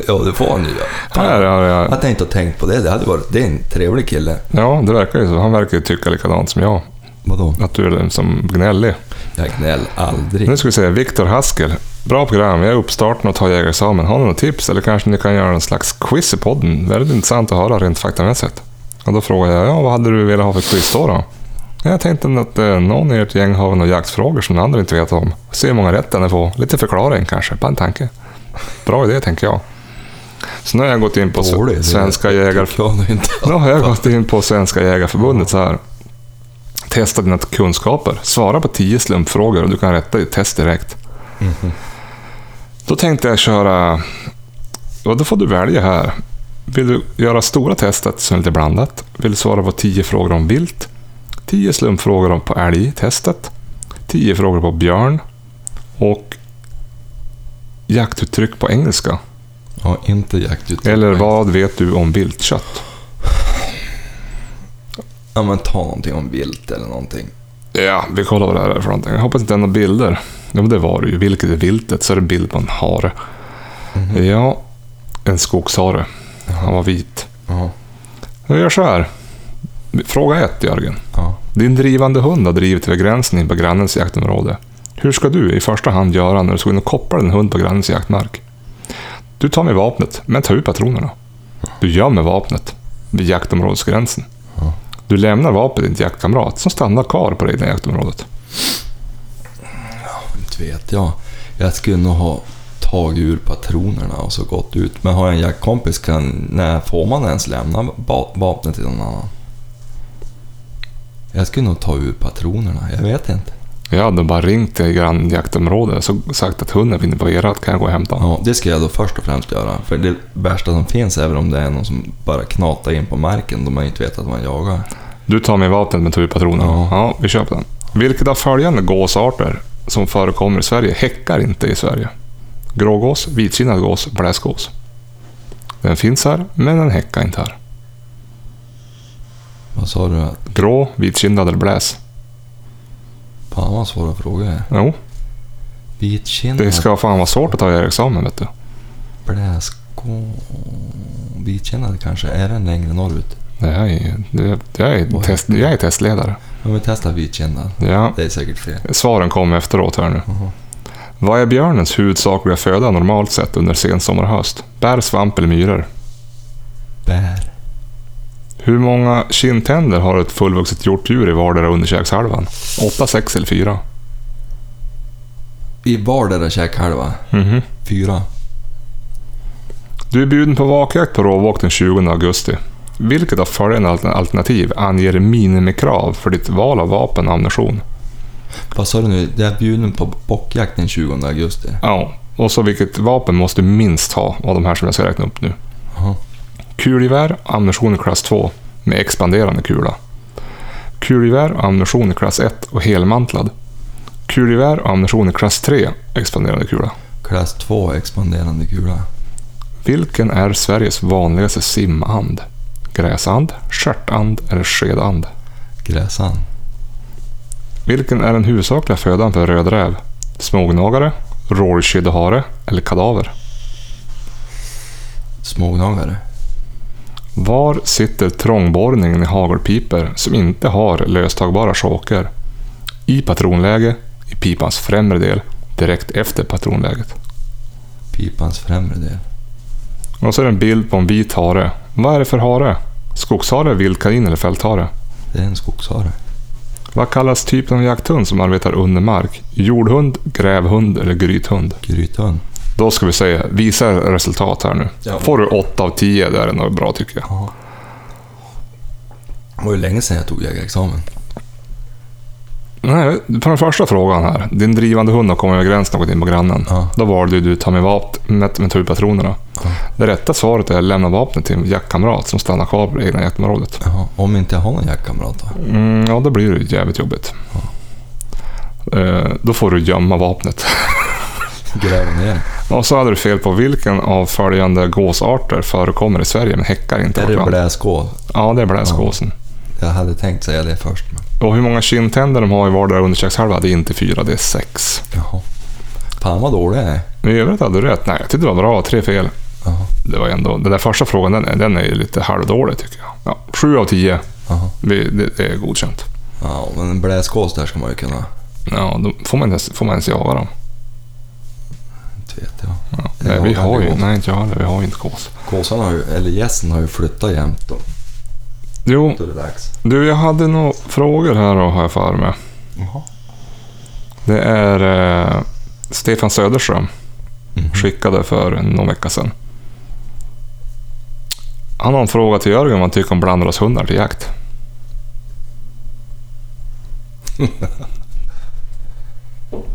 [SPEAKER 1] ja, det får han ju göra.
[SPEAKER 2] Här har jag...
[SPEAKER 1] Att jag inte har tänkt på det, det hade varit... Det är en trevlig kille.
[SPEAKER 2] Ja, det verkar ju så. Han verkar ju tycka likadant som jag.
[SPEAKER 1] Vadå?
[SPEAKER 2] Att du är som gnällig.
[SPEAKER 1] Jag gnäll aldrig.
[SPEAKER 2] Nu ska vi se, Viktor Haskell. Bra program, jag är uppstarten och tar jägarexamen. Har ni några tips? Eller kanske ni kan göra en slags quiz i podden? Väldigt intressant att höra rent faktamässigt. Och då frågar jag, ja vad hade du velat ha för quiz då? då? Jag tänkte att eh, någon i ert gäng har några jaktfrågor som den andra inte vet om. Se hur många rätt den får. Lite förklaring kanske, bara en tanke. Bra idé tänker jag. Så nu har jag gått in på
[SPEAKER 1] Dålig idé.
[SPEAKER 2] Dålig, Svenska jägar...
[SPEAKER 1] Tycker jag nog inte.
[SPEAKER 2] Nu har jag gått in på Svenska Jägareförbundet så här. Testa dina kunskaper. Svara på 10 slumpfrågor och du kan rätta ditt test direkt. Mhm. Då tänkte jag köra... Och då får du välja här. Vill du göra stora testet som är lite blandat? Vill du svara på 10 frågor om vilt? 10 slumpfrågor om- på älg-testet? 10 frågor på björn? Och jaktuttryck på engelska?
[SPEAKER 1] Ja, inte jaktuttryck.
[SPEAKER 2] Eller vad vet du om viltkött?
[SPEAKER 1] Ja, men ta någonting om vilt eller någonting.
[SPEAKER 2] Ja, vi kollar vad det här är för någonting. Jag hoppas inte det är några bilder. Ja, men det var det ju. Vilket är viltet? Så är det en bild på en hare. Ja, en skogshare. Han var vit.
[SPEAKER 1] Ja.
[SPEAKER 2] Vi gör så här. Fråga ett, Jörgen.
[SPEAKER 1] Ja.
[SPEAKER 2] Din drivande hund har drivit över gränsen in på grannens jaktområde. Hur ska du i första hand göra när du ska in och koppla din hund på grannens jaktmark? Du tar med vapnet, men tar ut patronerna. Du gömmer vapnet vid jaktområdesgränsen. Du lämnar vapnet till din jaktkamrat som stannar kvar på det egna jaktområdet.
[SPEAKER 1] Inte vet jag. Jag skulle nog ha tagit ur patronerna och så gått ut. Men har jag en jaktkompis, kan, när får man ens lämna ba- vapnet till någon annan? Jag skulle nog ta ur patronerna, jag vet inte.
[SPEAKER 2] Jag hade bara ringt till grannjaktområdet och sagt att hunden finns på erat, kan jag gå och hämta honom?
[SPEAKER 1] Ja, det ska jag då först och främst göra. För det värsta som finns är väl om det är någon som bara knatar in på marken då man inte vet att man jagar.
[SPEAKER 2] Du tar med vapnet men tar ut patronen?
[SPEAKER 1] Ja.
[SPEAKER 2] Ja, vi köper den. Vilket av följande gåsarter som förekommer i Sverige häckar inte i Sverige? Grågås, vitsinnad gås, bläskgås. Den finns här, men den häckar inte här.
[SPEAKER 1] Vad sa du? att-
[SPEAKER 2] Grå, vitsinnad eller bläs?
[SPEAKER 1] Fan vad svåra frågor det är.
[SPEAKER 2] Jo, det
[SPEAKER 1] Vitkindad,
[SPEAKER 2] ska fan vara svårt att ta examen vet du.
[SPEAKER 1] Bläskå... Vitkinnad kanske? Är den längre norrut?
[SPEAKER 2] Det här är, det, jag, är
[SPEAKER 1] Oj.
[SPEAKER 2] test, jag är testledare.
[SPEAKER 1] Om vi testar vitkinnad.
[SPEAKER 2] Ja,
[SPEAKER 1] Det är säkert fel.
[SPEAKER 2] svaren kommer efteråt här nu.
[SPEAKER 1] Jaha.
[SPEAKER 2] Vad är björnens huvudsakliga föda normalt sett under sensommar och höst? Bär, svamp eller myror?
[SPEAKER 1] Bär.
[SPEAKER 2] Hur många kindtänder har ett fullvuxet hjortdjur i vardera underkäkshalvan? 8, 6 eller 4?
[SPEAKER 1] I vardera käkhalva.
[SPEAKER 2] Mhm.
[SPEAKER 1] Fyra.
[SPEAKER 2] Du är bjuden på vakjakt på råbock den 20 augusti. Vilket av följande altern- alternativ anger minimikrav för ditt val av vapen och ammunition?
[SPEAKER 1] Vad sa du nu? Jag är bjuden på bockjakt den 20 augusti.
[SPEAKER 2] Ja, och så vilket vapen måste du minst ha av de här som jag ska räkna upp nu?
[SPEAKER 1] Jaha.
[SPEAKER 2] Kulgevär, ammunition i klass 2 med expanderande kula. Kulgevär, ammunition i klass 1 och helmantlad. Kulgevär, ammunition i klass 3, expanderande kula.
[SPEAKER 1] Klass 2 expanderande kula.
[SPEAKER 2] Vilken är Sveriges vanligaste simand? Gräsand, stjärtand eller skedand?
[SPEAKER 1] Gräsan.
[SPEAKER 2] Vilken är den huvudsakliga födan för rödräv? Smågnagare, rådjurskedehare eller kadaver?
[SPEAKER 1] Smågnagare.
[SPEAKER 2] Var sitter trångborrningen i hagelpiper som inte har löstagbara choker? I patronläge, i pipans främre del, direkt efter patronläget.
[SPEAKER 1] Pipans främre del.
[SPEAKER 2] Och så är det en bild på en vit hare. Vad är det för hare? Skogshare, vildkanin eller fälthare?
[SPEAKER 1] Det är en skogshare.
[SPEAKER 2] Vad kallas typen av jakthund som arbetar under mark? Jordhund, grävhund eller grythund?
[SPEAKER 1] Grythund.
[SPEAKER 2] Då ska vi säga, visa resultat här nu.
[SPEAKER 1] Ja.
[SPEAKER 2] Får du 8 av 10, det är nog bra tycker jag.
[SPEAKER 1] Ja. Det var ju länge sedan jag tog jägarexamen.
[SPEAKER 2] Nej, på den första frågan här. Din drivande hund har kommit över gränsen och gått in på grannen.
[SPEAKER 1] Ja.
[SPEAKER 2] Då valde du ta med vapnet med turpatronerna.
[SPEAKER 1] Ja.
[SPEAKER 2] Det rätta svaret är att lämna vapnet till en jaktkamrat som stannar kvar på det egna jaktområdet.
[SPEAKER 1] Jaha. Om inte jag har någon jaktkamrat då?
[SPEAKER 2] Mm, ja, då blir det jävligt jobbigt. Eh, då får du gömma vapnet.
[SPEAKER 1] Gräver ner.
[SPEAKER 2] Och så hade du fel på vilken av följande gåsarter förekommer i Sverige men häckar inte i
[SPEAKER 1] Är
[SPEAKER 2] vårt
[SPEAKER 1] det
[SPEAKER 2] land.
[SPEAKER 1] bläskål?
[SPEAKER 2] Ja, det är bläsgåsen.
[SPEAKER 1] Jag hade tänkt säga det först. Men...
[SPEAKER 2] Och hur många kindtänder de har i vardera underkäkshalva, det är inte fyra, det är sex.
[SPEAKER 1] Jaha. Fan vad dålig jag är.
[SPEAKER 2] Men i övrigt hade du rätt. Nej, jag tyckte det var bra. Tre fel.
[SPEAKER 1] Jaha.
[SPEAKER 2] Det var ändå, den där första frågan, den är, den är ju lite halvdålig tycker jag. Ja, sju av tio.
[SPEAKER 1] Jaha.
[SPEAKER 2] Vi, det, det är godkänt.
[SPEAKER 1] Ja, men en bläskås där ska man ju kunna.
[SPEAKER 2] Ja, då får man inte ens, får man ens jaga dem.
[SPEAKER 1] Inte vet jag.
[SPEAKER 2] Ja.
[SPEAKER 1] Jag
[SPEAKER 2] Nej, vi
[SPEAKER 1] jagar
[SPEAKER 2] har ju,
[SPEAKER 1] aldrig
[SPEAKER 2] nej, inte jag heller. Vi har ju inte gås.
[SPEAKER 1] Gåsarna har ju, eller gässen har ju flyttat jämt då.
[SPEAKER 2] Jo,
[SPEAKER 1] Då är det dags.
[SPEAKER 2] du, jag hade några frågor här då, har jag för mig.
[SPEAKER 1] Jaha.
[SPEAKER 2] Det är eh, Stefan Söderström.
[SPEAKER 1] Mhm.
[SPEAKER 2] Skickade för någon vecka sedan. Han har en fråga till Jörgen vad han tycker om blandrashundar till jakt.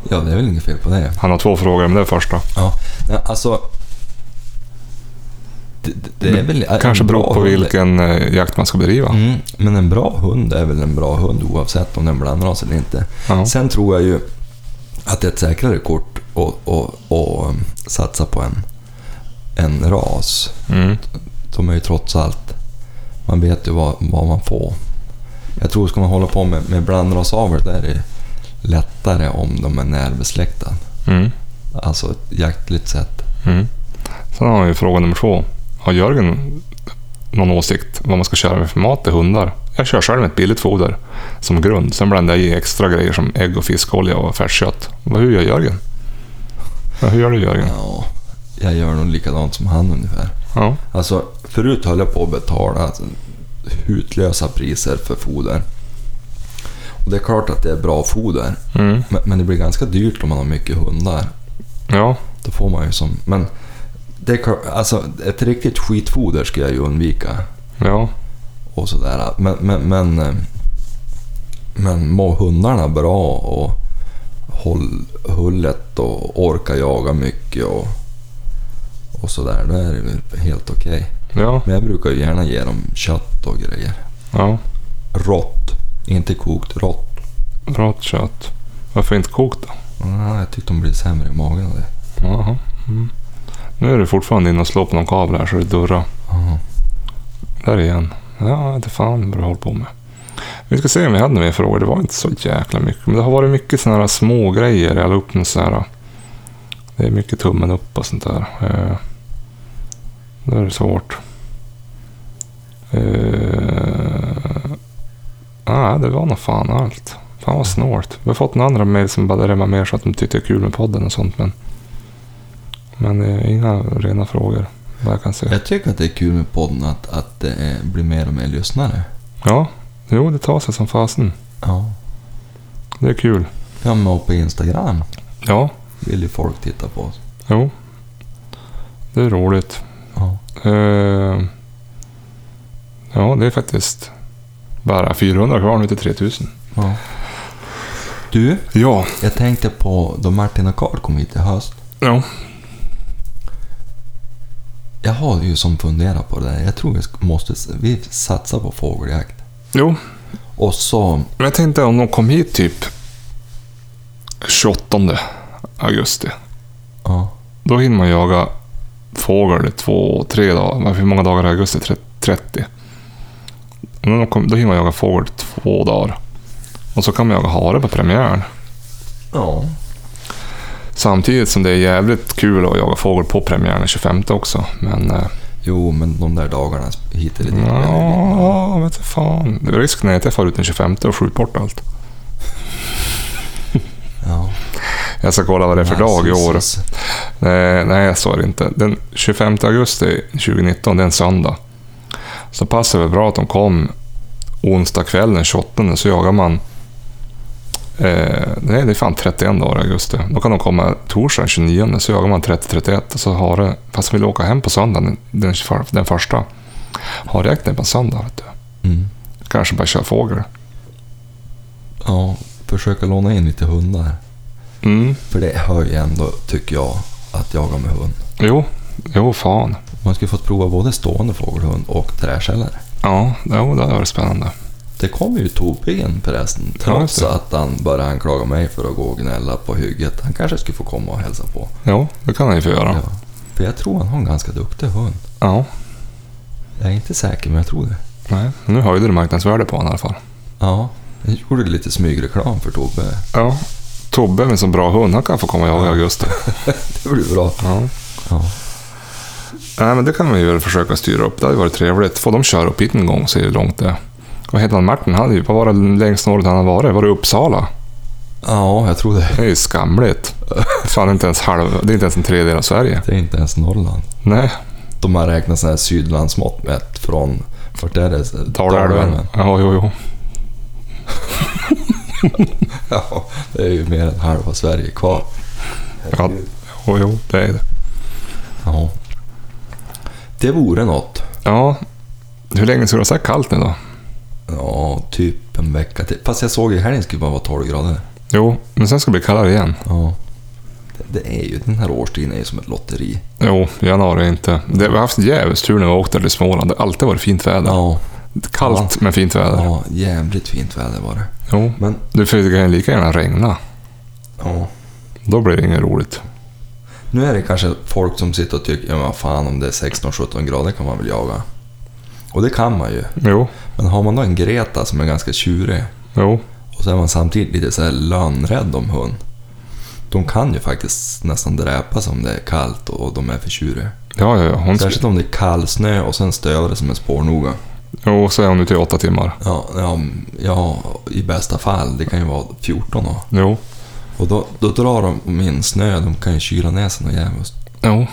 [SPEAKER 1] Ja, det är väl inget fel på det.
[SPEAKER 2] Han har två frågor, men det är första.
[SPEAKER 1] Ja, nej, alltså... Det, det- det är väl...
[SPEAKER 2] Kanske
[SPEAKER 1] en bra
[SPEAKER 2] beror på
[SPEAKER 1] hund-
[SPEAKER 2] vilken eh, jakt man ska bedriva.
[SPEAKER 1] Mm, men en bra hund är väl en bra hund oavsett om den blandras eller inte.
[SPEAKER 2] Ja.
[SPEAKER 1] Sen tror jag ju att det är ett säkrare kort att- att att um, satsa på en, en ras.
[SPEAKER 2] Mm.
[SPEAKER 1] De är ju trots allt... Man vet ju vad, vad man får. Jag tror ska man hålla på med, med blandrasavel, där är det lättare om de är närbesläktade.
[SPEAKER 2] Mm.
[SPEAKER 1] Alltså ett jaktligt sätt.
[SPEAKER 2] Mm. Sen har vi fråga nummer två. Har Jörgen någon åsikt vad man ska köra med för mat till hundar? Jag kör själv med ett billigt foder som grund. Sen blandar jag i extra grejer som ägg och fiskolja och färskött. Vad- Hur gör Jörgen? Ja, hur gör du Jörgen?
[SPEAKER 1] Ja, jag gör nog likadant som han ungefär.
[SPEAKER 2] Ja.
[SPEAKER 1] Alltså, förut höll jag på att betala alltså, hutlösa priser för foder. Och det är klart att det är bra foder,
[SPEAKER 2] Mm.
[SPEAKER 1] men, men det blir ganska dyrt om man har mycket hundar.
[SPEAKER 2] Ja,
[SPEAKER 1] Då får man ju som... Men det är klart, alltså ett riktigt skitfoder ska jag ju undvika
[SPEAKER 2] ja,
[SPEAKER 1] och sådär. Men, men, men, eh, men mår hundarna bra och håll hullet och orkar jaga mycket och, och sådär, då är det väl helt okej.
[SPEAKER 2] ja,
[SPEAKER 1] Men jag brukar ju gärna ge dem kött och grejer.
[SPEAKER 2] ja.
[SPEAKER 1] Rått, inte kokt, rått.
[SPEAKER 2] Rått kött. Varför inte kokt då?
[SPEAKER 1] Ah, jag tyckte de blir sämre i magen av det.
[SPEAKER 2] Jaha. Mm. Nu är du fortfarande inne och slår på någon kabel här så det durrar.
[SPEAKER 1] Ah.
[SPEAKER 2] Där igen. Ja, inte fan vad du håller på med. Vi ska se om vi hade några mer frågor. Det var inte så jäkla mycket. Men det har varit mycket sådana här små grejer. Jag la upp något så här. eh, Det är mycket tummen upp och sånt där. Eh, Det är svårt. Eh, Nej, det var nog fan allt. Fan vad snålt. Vi har fått några andra mejl som bara remmar mer så att de tyckte det är kul med podden och sånt. Men, men eh, inga rena frågor. Vad jag kan se.
[SPEAKER 1] Jag tycker att det är kul med podden att, att det är- blir mer och mer lyssnare.
[SPEAKER 2] Ja, jo det tar sig som fasen.
[SPEAKER 1] Ja.
[SPEAKER 2] Det är kul.
[SPEAKER 1] Ja, men och på Instagram
[SPEAKER 2] Ja,
[SPEAKER 1] vill ju folk titta på oss.
[SPEAKER 2] jo. Det är roligt.
[SPEAKER 1] Ja.
[SPEAKER 2] Eh, ja, det är faktiskt bara 400 kvar nu till 3000.
[SPEAKER 1] ja. Du,
[SPEAKER 2] Ja.
[SPEAKER 1] jag tänkte på då Martin och Karl kom hit i höst.
[SPEAKER 2] Ja.
[SPEAKER 1] Jag har ju som funderat på det där. Jag tror vi sk- måste vi satsa på fågeljakt.
[SPEAKER 2] Jo,
[SPEAKER 1] Och så...
[SPEAKER 2] men jag tänkte om de kom hit typ 28 augusti.
[SPEAKER 1] Ja.
[SPEAKER 2] Då hinner man jaga fågel i två, tre dagar. Men Hur många dagar i augusti? Tre- 30. Men Då, kom, då hinner man jaga fågel två dagar. Och så kan man jaga hare på premiären.
[SPEAKER 1] Ja.
[SPEAKER 2] Samtidigt som det är jävligt kul att jaga fågel på premiären den 25 också. Men eh,
[SPEAKER 1] Jo, men de där dagarna hit eller dit.
[SPEAKER 2] ja, vet du fan. Risken är att jag far ut den 25 och skjuter bort allt.
[SPEAKER 1] ja.
[SPEAKER 2] Jag ska kolla vad det är för dag i år. Eh, Nej, nej, så är det inte. Den 25 augusti 2019, det är en söndag. Så passar det väl bra att de kom onsdag kväll den 28 så jagar man... Eh, nej, det är fan 31 dagar i augusti. Då kan de komma torsdag den 29 så jagar man 30-31 och så har det... Fast de vill åka hem på söndagen den, 21 den första. Har räknat på en söndag, vet du.
[SPEAKER 1] Mm.
[SPEAKER 2] Kanske bara köra fågel.
[SPEAKER 1] Ja, försöka låna in lite hundar.
[SPEAKER 2] Mm,
[SPEAKER 1] För det hör ju ändå, tycker jag, att jaga med hund.
[SPEAKER 2] jo. Jo, fan.
[SPEAKER 1] Man skulle fått prova både stående fågelhund och träskällare.
[SPEAKER 2] Ja, jo, det var spännande.
[SPEAKER 1] Det kom ju Tobin förresten,
[SPEAKER 2] Ja,
[SPEAKER 1] trots
[SPEAKER 2] just det.
[SPEAKER 1] att han började anklaga mig för att gå och gnälla på hygget. Han kanske skulle få komma och hälsa på.
[SPEAKER 2] Jo, det kan han ju få göra.
[SPEAKER 1] Ja. För jag tror han har en ganska duktig hund.
[SPEAKER 2] ja.
[SPEAKER 1] Jag är inte säker, men jag tror det.
[SPEAKER 2] Nej, men nu höjde du marknadsvärdet på honom i alla fall.
[SPEAKER 1] Ja, jag gjorde lite smygreklam för Tobbe.
[SPEAKER 2] Ja. Tobbe med en sån bra hund, han kan få komma och jaga i augusti.
[SPEAKER 1] Det blir bra.
[SPEAKER 2] Ja.
[SPEAKER 1] Ja.
[SPEAKER 2] Nej, men det kan vi väl försöka styra upp. Det hade varit trevligt. Får de köra upp hit en gång så är det långt det. Vad heter han? Martin hade ju, vad var det längst norrut han hade varit? Var det Uppsala?
[SPEAKER 1] ja, jag tror det.
[SPEAKER 2] Det är ju skamligt. Fan, det är inte ens, halv, det är inte ens en tredjedel av Sverige.
[SPEAKER 1] Det är inte ens Norrland.
[SPEAKER 2] Nej,
[SPEAKER 1] De har räknat sådana här sydlandsmått mätt från, vart är det?
[SPEAKER 2] Dalälven. Ja, jo, jo.
[SPEAKER 1] Ja, det är ju mer än halva Sverige kvar.
[SPEAKER 2] Ja, jo, jo, det är det.
[SPEAKER 1] Ja. Det vore något.
[SPEAKER 2] Ja, hur länge ska det vara så här kallt nu då?
[SPEAKER 1] Ja, typ en vecka till. Fast jag såg i helgen skulle det bara vara 12 grader.
[SPEAKER 2] Jo, men sen ska det bli kallare igen.
[SPEAKER 1] Ja. Det, det är ju, den här årstiden är ju som ett lotteri.
[SPEAKER 2] Jo, januari är inte. Det, vi har haft jävligt tur när vi åkt där till Småland. Det har alltid varit fint väder.
[SPEAKER 1] Ja,
[SPEAKER 2] Kallt men fint väder.
[SPEAKER 1] ja jävligt fint väder var det.
[SPEAKER 2] Jo,
[SPEAKER 1] Men,
[SPEAKER 2] det får ju kan lika gärna regna.
[SPEAKER 1] ja.
[SPEAKER 2] Då blir det inget roligt.
[SPEAKER 1] Nu är det kanske folk som sitter och tycker, ja men vad fan om det är 16-17 grader kan man väl jaga. Och det kan man ju.
[SPEAKER 2] Jo,
[SPEAKER 1] Men har man då en Greta som är ganska tjurig
[SPEAKER 2] jo,
[SPEAKER 1] och så är man samtidigt lite så här lönnrädd om hund. De kan ju faktiskt nästan dräpas om det är kallt och de är för tjuriga.
[SPEAKER 2] ja, ja, ja. Hon ska,
[SPEAKER 1] Särskilt om det är kall snö och sen stövar det som en spårnoga.
[SPEAKER 2] jo, så är hon ute i åtta timmar.
[SPEAKER 1] Ja, ja, ja, i bästa fall. Det kan ju vara 14 år.
[SPEAKER 2] Jo,
[SPEAKER 1] Och då, då drar de in snö. De kan ju kyla ner sig något jävligt.
[SPEAKER 2] jo.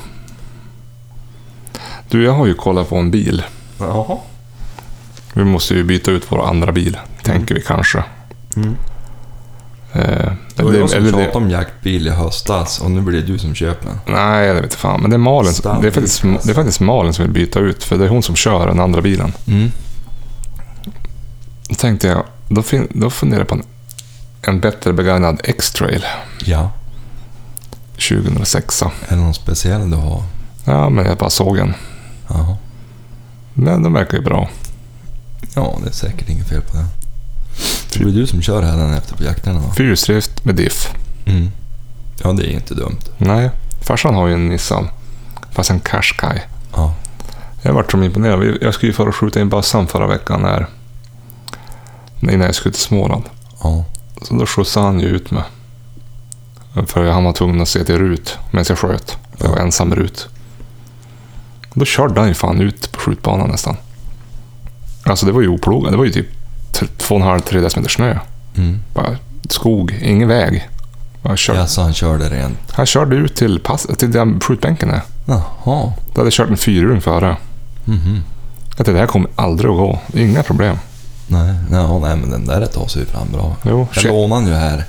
[SPEAKER 2] Du, jag har ju kollat på en bil.
[SPEAKER 1] Jaha.
[SPEAKER 2] Vi måste ju byta ut vår andra bil, tänker vi kanske.
[SPEAKER 3] Mm.
[SPEAKER 2] Eh,
[SPEAKER 1] Det var
[SPEAKER 2] det-
[SPEAKER 1] jag som
[SPEAKER 2] eller det-
[SPEAKER 1] tjatade om jaktbil i höstas och nu blir det du som köper den.
[SPEAKER 2] Nej, det vet inte fan. Men det är Malin, som- det är faktiskt, det är faktiskt Malin som vill byta ut. För det är hon som kör den andra bilen.
[SPEAKER 1] Mm.
[SPEAKER 2] Då tänkte jag, då, fin, då funderar jag på en, en bättre begagnad X-trail
[SPEAKER 1] Ja,
[SPEAKER 2] 2006.
[SPEAKER 1] är det någon speciell du har?
[SPEAKER 2] Ja, men jag bara såg den.
[SPEAKER 1] Jaha.
[SPEAKER 2] Men den verkar ju bra.
[SPEAKER 1] Ja, det är säkert inget fel på det. För det blir du som kör här efter på jakterna va?
[SPEAKER 2] Fyrhjulsdrift med diff.
[SPEAKER 1] Mm. Ja, det är inte dumt.
[SPEAKER 2] Nej, farsan har ju en Nissan. Fast en Qashqai.
[SPEAKER 1] Ja.
[SPEAKER 2] Jag vart så imponerad. Jag- Jag skulle ju fara och skjuta in bassan förra veckan när, innan jag skulle till Småland.
[SPEAKER 1] Ja.
[SPEAKER 2] Så då skjutsade han ju ut mig. För han var tvungen att se till Rut medan jag sköt. För jag var ensam med Rut. Då körde han ju fan ut på skjutbanan nästan. Alltså det var ju oplogat. Det var ju typ 2,5-3 decimeter snö.
[SPEAKER 1] Mm.
[SPEAKER 2] Bara skog, ingen väg. Bara kör.
[SPEAKER 1] Ja, så han körde rent.
[SPEAKER 2] Han körde ut till, pass, till där skjutbänken är.
[SPEAKER 1] Jaha.
[SPEAKER 2] Då hade jag kört en fyrhjuling före.
[SPEAKER 1] Mhm.
[SPEAKER 2] Jag tänkte det här kommer aldrig att gå. Inga problem.
[SPEAKER 1] Nej, nej, nej, men den där tar sig ju fram bra.
[SPEAKER 2] Jo,
[SPEAKER 1] Jag
[SPEAKER 2] shit.
[SPEAKER 1] lånade den ju här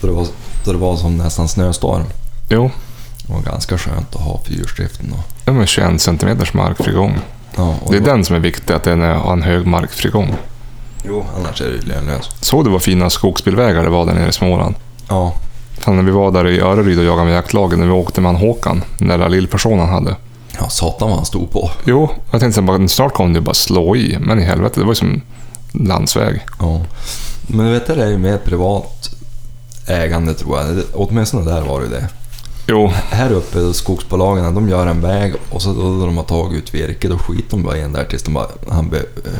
[SPEAKER 1] då det, var, då det var som nästan snöstorm.
[SPEAKER 2] jo.
[SPEAKER 1] Det var ganska skönt att ha fyrhjulsdriften då.
[SPEAKER 2] Det var 21 centimeters markfrigång.
[SPEAKER 1] Ja, och
[SPEAKER 2] Det är
[SPEAKER 1] var,
[SPEAKER 2] den som är viktig, att den är- har en hög markfrigång.
[SPEAKER 1] Jo, annars är det ju lönlöst.
[SPEAKER 2] Såg du vad fina skogsbilvägar det var där nere i Småland?
[SPEAKER 1] Ja.
[SPEAKER 2] Fan, när vi var där i Öreryd och jagade med jaktlagen, när vi åkte med han Håkan, den där lilla lillpersonen han hade.
[SPEAKER 1] ja, satan vad han stod på.
[SPEAKER 2] Jo, jag tänkte så här, bara, snart kommer du bara slå i, men i helvete, det var ju som landsväg.
[SPEAKER 1] Ja. Men du vet, det är ju mer privat ägande tror jag. Det- Åtminstone där var det ju det.
[SPEAKER 2] Jo,
[SPEAKER 1] Här uppe, skogsbolagen, de gör en väg och så då de har tagit ut virke, då skiter de bara i den där tills de bara, han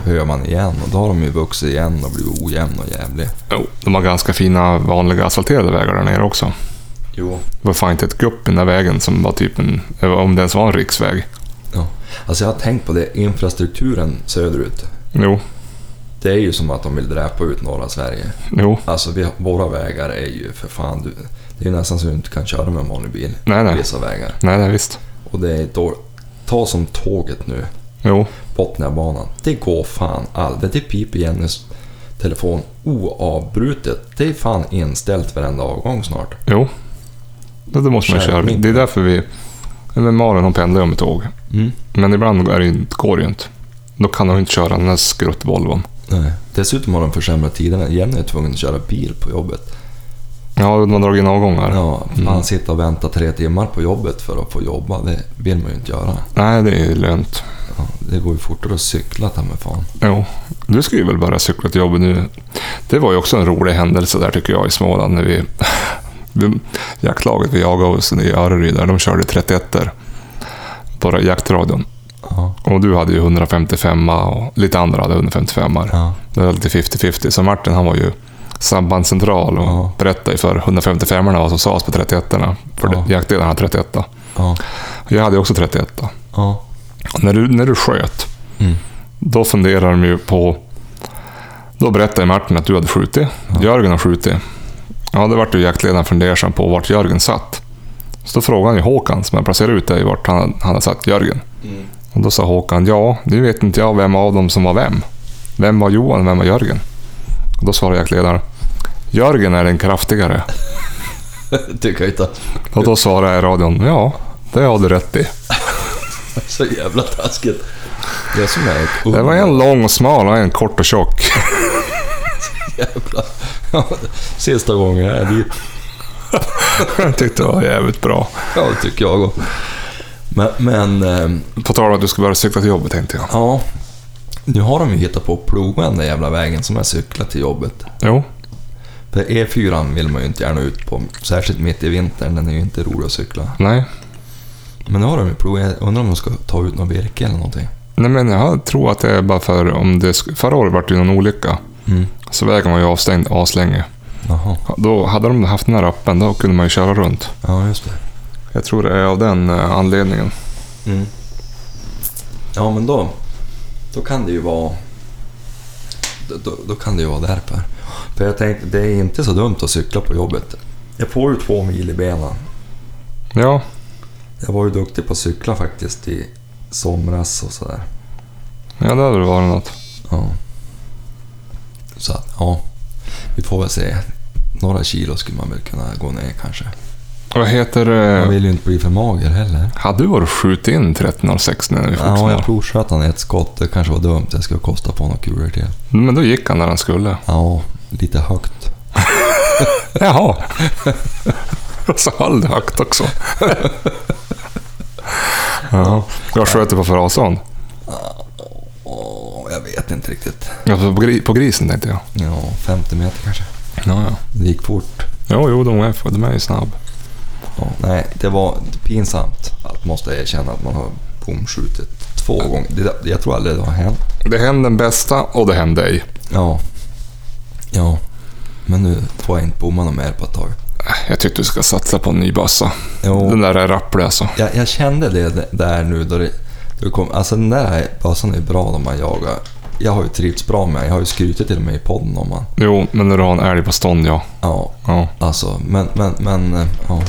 [SPEAKER 1] behöver man igen. Och då har de ju vuxit igen och blivit ojämn och jävlig.
[SPEAKER 2] jo, de har ganska fina vanliga asfalterade vägar där nere också.
[SPEAKER 1] Jo.
[SPEAKER 2] Det var fan inte ett gupp i den där vägen som var typ en, om det ens var en riksväg.
[SPEAKER 1] Alltså jag har tänkt på det, infrastrukturen söderut,
[SPEAKER 2] Jo,
[SPEAKER 1] det är ju som att de vill dräpa ut norra Sverige.
[SPEAKER 2] jo,
[SPEAKER 1] Alltså vi, våra vägar är ju för fan, du, det är ju nästan så du inte kan köra med en vanlig bil.
[SPEAKER 2] nej, nej,
[SPEAKER 1] Vissa vägar.
[SPEAKER 2] nej, nej, visst.
[SPEAKER 1] Och det är då, ta som tåget nu,
[SPEAKER 2] Jo,
[SPEAKER 1] Botniabanan. Det går fan aldrig. Det piper i Jennys telefon oavbrutet. Det är fan inställt varenda avgång snart.
[SPEAKER 2] jo. Det, det måste man köra. Det är därför vi... Men Malin hon pendlar ju med tåg. Men ibland är det, ju- går det ju inte. Då kan de inte köra den här skruttvolvon.
[SPEAKER 1] Nej. Dessutom har de försämrat tiderna. Jenny är tvungen att köra bil på jobbet.
[SPEAKER 2] Ja, de har dragit in avgångar.
[SPEAKER 1] Ja,
[SPEAKER 2] Mm.
[SPEAKER 1] Man sitter och väntar tre timmar på jobbet för att få jobba. Det vill man ju inte göra.
[SPEAKER 2] Nej, det är ju lönt.
[SPEAKER 1] Ja, det går ju fortare att cykla ta mig fan.
[SPEAKER 2] Jo, du ska ju väl börja cykla till jobbet nu. Det var ju också en rolig händelse där tycker jag i Småland när vi... vi jaktlaget vi jagade oss i Öreryd där, de körde 31 Bara jaktradion.
[SPEAKER 1] Ja.
[SPEAKER 2] Och du hade ju 155 och lite andra hade 155 ar
[SPEAKER 1] Ja.
[SPEAKER 2] Det var lite 50-50. Så Martin han var ju sambandscentral och
[SPEAKER 1] Ja.
[SPEAKER 2] berättade ju för 155 arna vad som sades på 31 erna För
[SPEAKER 1] Ja.
[SPEAKER 2] jaktledarna hade 31
[SPEAKER 1] Ja.
[SPEAKER 2] Jag hade ju också 31
[SPEAKER 1] Ja.
[SPEAKER 2] och när du, när du sköt,
[SPEAKER 1] Mm.
[SPEAKER 2] då funderar de ju på... Då berättade Martin att du hade skjutit. Jörgen har skjutit. Ja, då vart ju jaktledaren fundersam på vart Jörgen satt. Så då frågade han ju Håkan, som jag placerade ut dig, vart han, han hade satt Jörgen. Och då sa Håkan, ja, nu vet inte jag vem av dem som var vem. Vem var Johan, vem var Jörgen? Och då svarade jaktledaren, Jörgen är den kraftigare.
[SPEAKER 1] Tycker jag inte.
[SPEAKER 2] Och då svarade jag i radion, ja, det har du rätt i.
[SPEAKER 1] Så jävla taskigt. Det som är ett
[SPEAKER 2] Det var en lång och smal och en kort och tjock.
[SPEAKER 1] jävla... Ja, Sista gången jag är dit.
[SPEAKER 2] Jag tyckte det var jävligt bra.
[SPEAKER 1] Ja, det tycker jag också. Men, men ehm,
[SPEAKER 2] På tal om att du ska börja cykla till jobbet tänkte jag.
[SPEAKER 1] ja. Nu har de ju hittat på att ploga den där jävla vägen som jag cyklar till jobbet.
[SPEAKER 2] Jo.
[SPEAKER 1] För E4 vill man ju inte gärna ut på, särskilt mitt i vintern. Den är ju inte rolig att cykla.
[SPEAKER 2] Nej.
[SPEAKER 1] Men nu har de ju plogat. Jag undrar om de ska ta ut någon virke eller någonting.
[SPEAKER 2] Nej men jag tror att det är bara för om det... sk- Förra året var det ju någon olycka.
[SPEAKER 1] Mm.
[SPEAKER 2] Så vägen var ju avstängd aslänge.
[SPEAKER 1] Jaha,
[SPEAKER 2] Då hade de haft den här öppen, då kunde man ju köra runt.
[SPEAKER 1] ja just det.
[SPEAKER 2] Jag tror det är av den eh, anledningen.
[SPEAKER 1] Mm. Ja, men då, då kan det ju vara... då- Då, då kan det ju vara därför. För jag tänkte, det är inte så dumt att cykla på jobbet. Jag får ju två mil i benen.
[SPEAKER 2] Ja.
[SPEAKER 1] Jag var ju duktig på att cykla faktiskt i somras och sådär.
[SPEAKER 2] Ja, det hade väl varit något.
[SPEAKER 1] Ja. Så att, ja. Vi får får väl se. Några kilo skulle man väl kunna gå ner kanske.
[SPEAKER 2] Vad heter
[SPEAKER 1] Man
[SPEAKER 2] det?
[SPEAKER 1] vill ju inte bli för mager heller.
[SPEAKER 2] Hade du varit skjutit in 13.06 när vi
[SPEAKER 1] Ja, jag
[SPEAKER 2] fortfarande...
[SPEAKER 1] provsköt han i ett skott. Det kanske var dumt. Jag skulle kosta på några kulor till.
[SPEAKER 2] Men då gick han där han skulle.
[SPEAKER 1] Ja, lite högt.
[SPEAKER 2] Jaha. Så höll det högt också. ja. Jag sköt ju på för avstånd.
[SPEAKER 1] Åh, jag vet inte riktigt.
[SPEAKER 2] Ja, på, gri- på grisen tänkte jag.
[SPEAKER 1] Ja, 50 meter kanske.
[SPEAKER 2] Ja, ja.
[SPEAKER 1] Det gick fort.
[SPEAKER 2] Jo, jo, de är, de är ju snabb.
[SPEAKER 1] Ja, nej, det var pinsamt att måste erkänna att man har bomskjutit två gånger. Det, jag tror aldrig det har hänt.
[SPEAKER 2] Det hände den bästa och det hände dig.
[SPEAKER 1] Ja. Ja. Men nu får jag inte bomma något mer på ett tag.
[SPEAKER 2] Äh, Jag tyckte du ska satsa på en ny bössa. Den
[SPEAKER 1] Jo,
[SPEAKER 2] där är rapplig alltså.
[SPEAKER 1] jag, jag kände det där nu då det, då det kom. Alltså den där bössan är bra när man jagar. Jag har ju trivts bra med den. Jag har ju skrutit till och med i podden om man.
[SPEAKER 2] Jo, men när du har en älg på stånd, ja.
[SPEAKER 1] Ja,
[SPEAKER 2] ja.
[SPEAKER 1] alltså. Men, men, men. eh, Ja.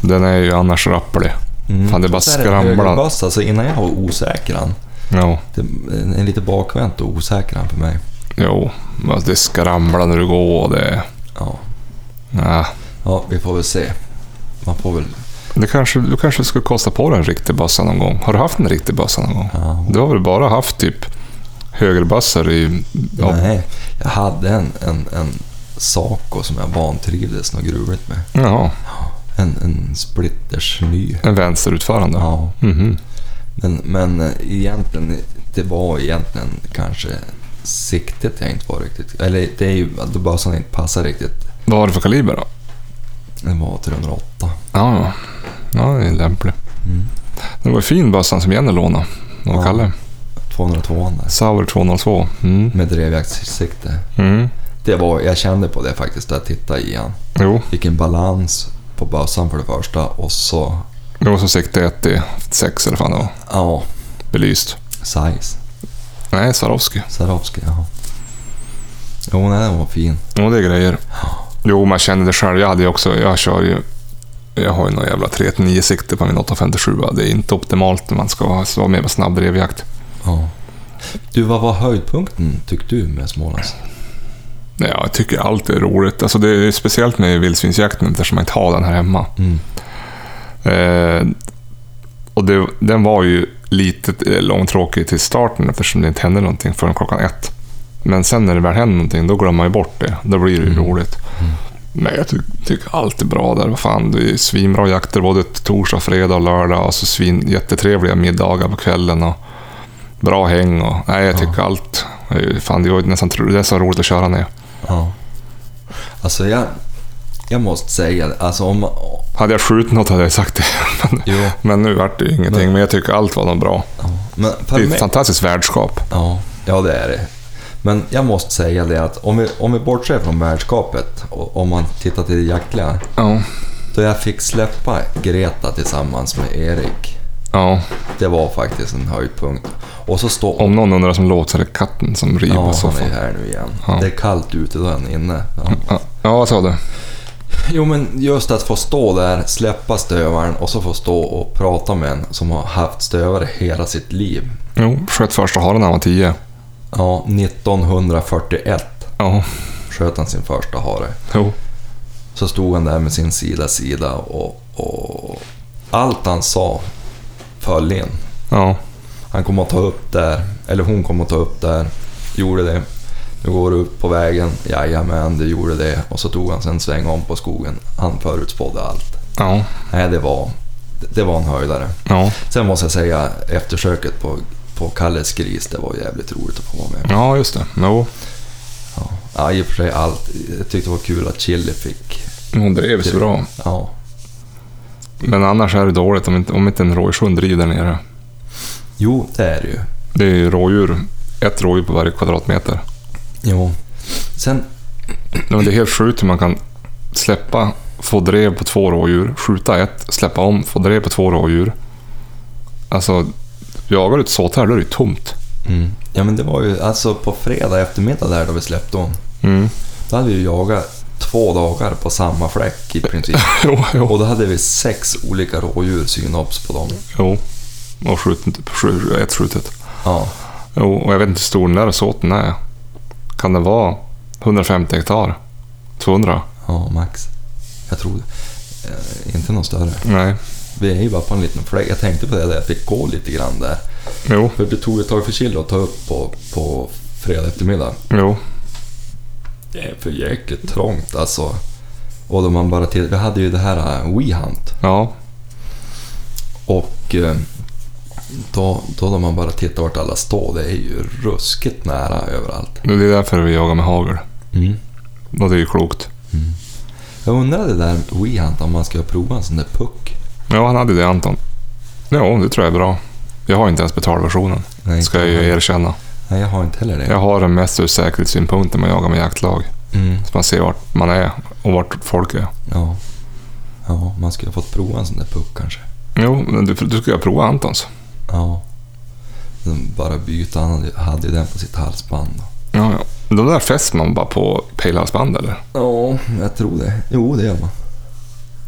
[SPEAKER 2] Den är ju annars rapplig.
[SPEAKER 1] Mm.
[SPEAKER 2] Fan, det bara
[SPEAKER 1] Så där är en
[SPEAKER 2] skramlar.
[SPEAKER 1] högerbössa, så alltså, innan jag var osäkran.
[SPEAKER 2] Jo,
[SPEAKER 1] Det är en lite bakvänt och osäkran för mig.
[SPEAKER 2] jo. Men Det skramlar när du går och det...
[SPEAKER 1] Ja.
[SPEAKER 2] Äh.
[SPEAKER 1] Ja, vi får väl se. Man får väl...
[SPEAKER 2] Det kanske, du kanske skulle kosta på dig en riktig bössa någon gång. Har du haft en riktig bössa någon gång?
[SPEAKER 1] Ja.
[SPEAKER 2] Du har väl bara haft typ högerbössor i... Ja.
[SPEAKER 1] Nej, jag hade en, en, en Saco som jag vantrivdes något gruvligt med.
[SPEAKER 2] ja.
[SPEAKER 1] En, en splitters ny.
[SPEAKER 2] En vänsterutförande.
[SPEAKER 1] Ja,
[SPEAKER 2] Mhm.
[SPEAKER 1] men, men eh, egentligen, det var egentligen kanske siktet jag inte var riktigt... Eller det är ju att bössan inte passar riktigt.
[SPEAKER 2] Vad har du för kaliber då?
[SPEAKER 1] Den var 308.
[SPEAKER 2] Ja, ja. Ja, det är lämpligt.
[SPEAKER 1] Mm.
[SPEAKER 2] Det var en fin bössan som Jenny lånade. Vad
[SPEAKER 1] Ja.
[SPEAKER 2] ja. kallar
[SPEAKER 1] 202 där.
[SPEAKER 2] Sauer 202. Mm.
[SPEAKER 1] Med drevjaktssikte.
[SPEAKER 2] Mm.
[SPEAKER 1] Det var, jag kände på det faktiskt när jag tittade i han.
[SPEAKER 2] Jo,
[SPEAKER 1] Vilken balans på bössan för det första och så...
[SPEAKER 2] det var som sikte 1 i 6 eller fan det var.
[SPEAKER 1] Ja,
[SPEAKER 2] Belyst.
[SPEAKER 1] size.
[SPEAKER 2] Nej, Swarovski.
[SPEAKER 1] Sarabski, ja. Jo, nej, den var fin.
[SPEAKER 2] Jo, det är grejer. Jo, man känner det själv. Jag hade ju också... Jag kör ju... Jag har ju någon jävla 3-9 sikte på min 857. Det är inte optimalt när man ska vara- vara med på snabb drevjakt.
[SPEAKER 1] Ja. Du, vad var höjdpunkten tyckte du med Smålands?
[SPEAKER 2] Nej, jag tycker allt är roligt. Alltså, det är ju speciellt med vildsvinsjakten eftersom jag inte har den här hemma.
[SPEAKER 1] Mm.
[SPEAKER 2] Eh, och det, den var ju lite eh, långtråkig till starten eftersom det inte hände någonting förrän klockan ett. Men sen när det väl händer någonting, då glömmer man ju bort det. Då blir det ju roligt. Men jag ty- tycker allt är bra där. Vad fan, det är svinbra jakter både torsdag, fredag och lördag. Och så svin, jättetrevliga middagar på kvällen. Och bra häng. Och, nej, jag tycker allt. är ju- Fan, det är ju nästan tro- det är så roligt att köra ner.
[SPEAKER 1] Ja. Alltså, jag... Jag måste säga, alltså om...
[SPEAKER 2] Hade jag skjutit något hade jag sagt det. Men,
[SPEAKER 1] Jo.
[SPEAKER 2] men nu vart det ju ingenting. Men jag tycker allt var nog bra.
[SPEAKER 1] Ja. Men för
[SPEAKER 2] Det är
[SPEAKER 1] mig-
[SPEAKER 2] ett fantastiskt värdskap.
[SPEAKER 1] Ja, ja det är det. Men jag måste säga det att om vi, om vi bortser från värdskapet och om man tittar till det jaktliga.
[SPEAKER 2] Ja.
[SPEAKER 1] Då jag fick släppa Greta tillsammans med Erik.
[SPEAKER 2] ja.
[SPEAKER 1] Det var faktiskt en höjdpunkt. Och så står
[SPEAKER 2] Om någon undrar som låter så är det katten som river
[SPEAKER 1] Ja, han är
[SPEAKER 2] soffan.
[SPEAKER 1] ju här nu igen.
[SPEAKER 2] Ja.
[SPEAKER 1] Det är kallt ute då han är inne. Ja.
[SPEAKER 2] Ja, ja, vad sa du?
[SPEAKER 1] Jo, men just att få stå där, släppa stövaren och så få stå och prata med en som har haft stövare hela sitt liv.
[SPEAKER 2] Jo, sköt första haren när han var tio.
[SPEAKER 1] Ja, 1941
[SPEAKER 2] Ja,
[SPEAKER 1] sköt han sin första hare.
[SPEAKER 2] jo.
[SPEAKER 1] Så stod han där med sin sida sida och, och allt han sa föll in.
[SPEAKER 2] Ja,
[SPEAKER 1] Han kom att ta upp där, eller hon kom att ta upp där, gjorde det. Nu går du upp på vägen, jajamän, det gjorde det. Och så tog han sen sväng om på skogen. Han förutspådde allt.
[SPEAKER 2] ja,
[SPEAKER 1] Nej, det var, det var en höjdare.
[SPEAKER 2] ja.
[SPEAKER 1] Sen måste jag säga, eftersöket på, på Kalles gris, det var jävligt roligt att få vara med.
[SPEAKER 2] Ja, just det. Jo.
[SPEAKER 1] Ja, i och för sig allt. Jag tyckte det var kul att Chili fick...
[SPEAKER 2] Hon drev så bra.
[SPEAKER 1] Ja,
[SPEAKER 2] Men annars är det dåligt om inte, om inte en rådjurshund rider nere.
[SPEAKER 1] jo, det är det ju.
[SPEAKER 2] Det är ju rådjur. Ett rådjur på varje kvadratmeter.
[SPEAKER 1] Jo. Sen,
[SPEAKER 2] Men det är helt sjukt hur man kan släppa, få drev på två rådjur, skjuta ett, släppa om, få drev på två rådjur. Alltså, jagar du ett sånt här, då är det ju tomt.
[SPEAKER 1] mm. ja men det var ju alltså på fredag eftermiddag där då vi släppte hon.
[SPEAKER 2] Mm.
[SPEAKER 1] Då hade vi ju jagat två dagar på samma fläck i princip.
[SPEAKER 2] jo, jo.
[SPEAKER 1] Och då hade vi sex olika rådjur synops på dem.
[SPEAKER 2] Jo. Och skjutet, skj- ett skjutet.
[SPEAKER 1] Ja.
[SPEAKER 2] Jo, och jag vet inte hur stor den där såten är. Kan det vara 150 hektar. 200?
[SPEAKER 1] Ja, max. Jag tror det. Eh, inte något större.
[SPEAKER 2] Nej.
[SPEAKER 1] Vi är ju bara på en liten fläck. Jag tänkte på det där, jag fick gå lite grann där.
[SPEAKER 2] Jo,
[SPEAKER 1] För det tog ett tag för Chilo att ta upp på, på fredag eftermiddag.
[SPEAKER 2] jo.
[SPEAKER 1] Det är för jäkligt trångt alltså. Och då man bara till, vi hade ju det här eh, WeHunt
[SPEAKER 2] Ja,
[SPEAKER 1] och eh, då, då när man bara tittar vart alla står, det är ju ruskigt nära överallt.
[SPEAKER 2] det är därför vi jagar med hagel. Och det är ju klokt.
[SPEAKER 1] Jag undrar det där WeHunt om man ska prova en sån där puck.
[SPEAKER 2] Ja, han hade det Anton. Jo, det tror jag är bra. Jag har inte ens betalversionen,
[SPEAKER 1] Nej,
[SPEAKER 2] ska jag ju erkänna.
[SPEAKER 1] Nej, jag har inte heller det.
[SPEAKER 2] Jag har den mest ur säkerhetssynpunkt när man jagar med jaktlag.
[SPEAKER 1] Mm,
[SPEAKER 2] Så man ser vart man är och vart folk är.
[SPEAKER 1] ja. ja, man skulle ha fått prova en sån där puck kanske.
[SPEAKER 2] Jo, men du, du ska ju prova Antons.
[SPEAKER 1] Ja. Den bara byta, han hade- hade ju den på sitt halsband.
[SPEAKER 2] Ja, ja. De där fäster man bara på pejlhalsband eller?
[SPEAKER 1] Ja, jag tror det. Jo, det gör man.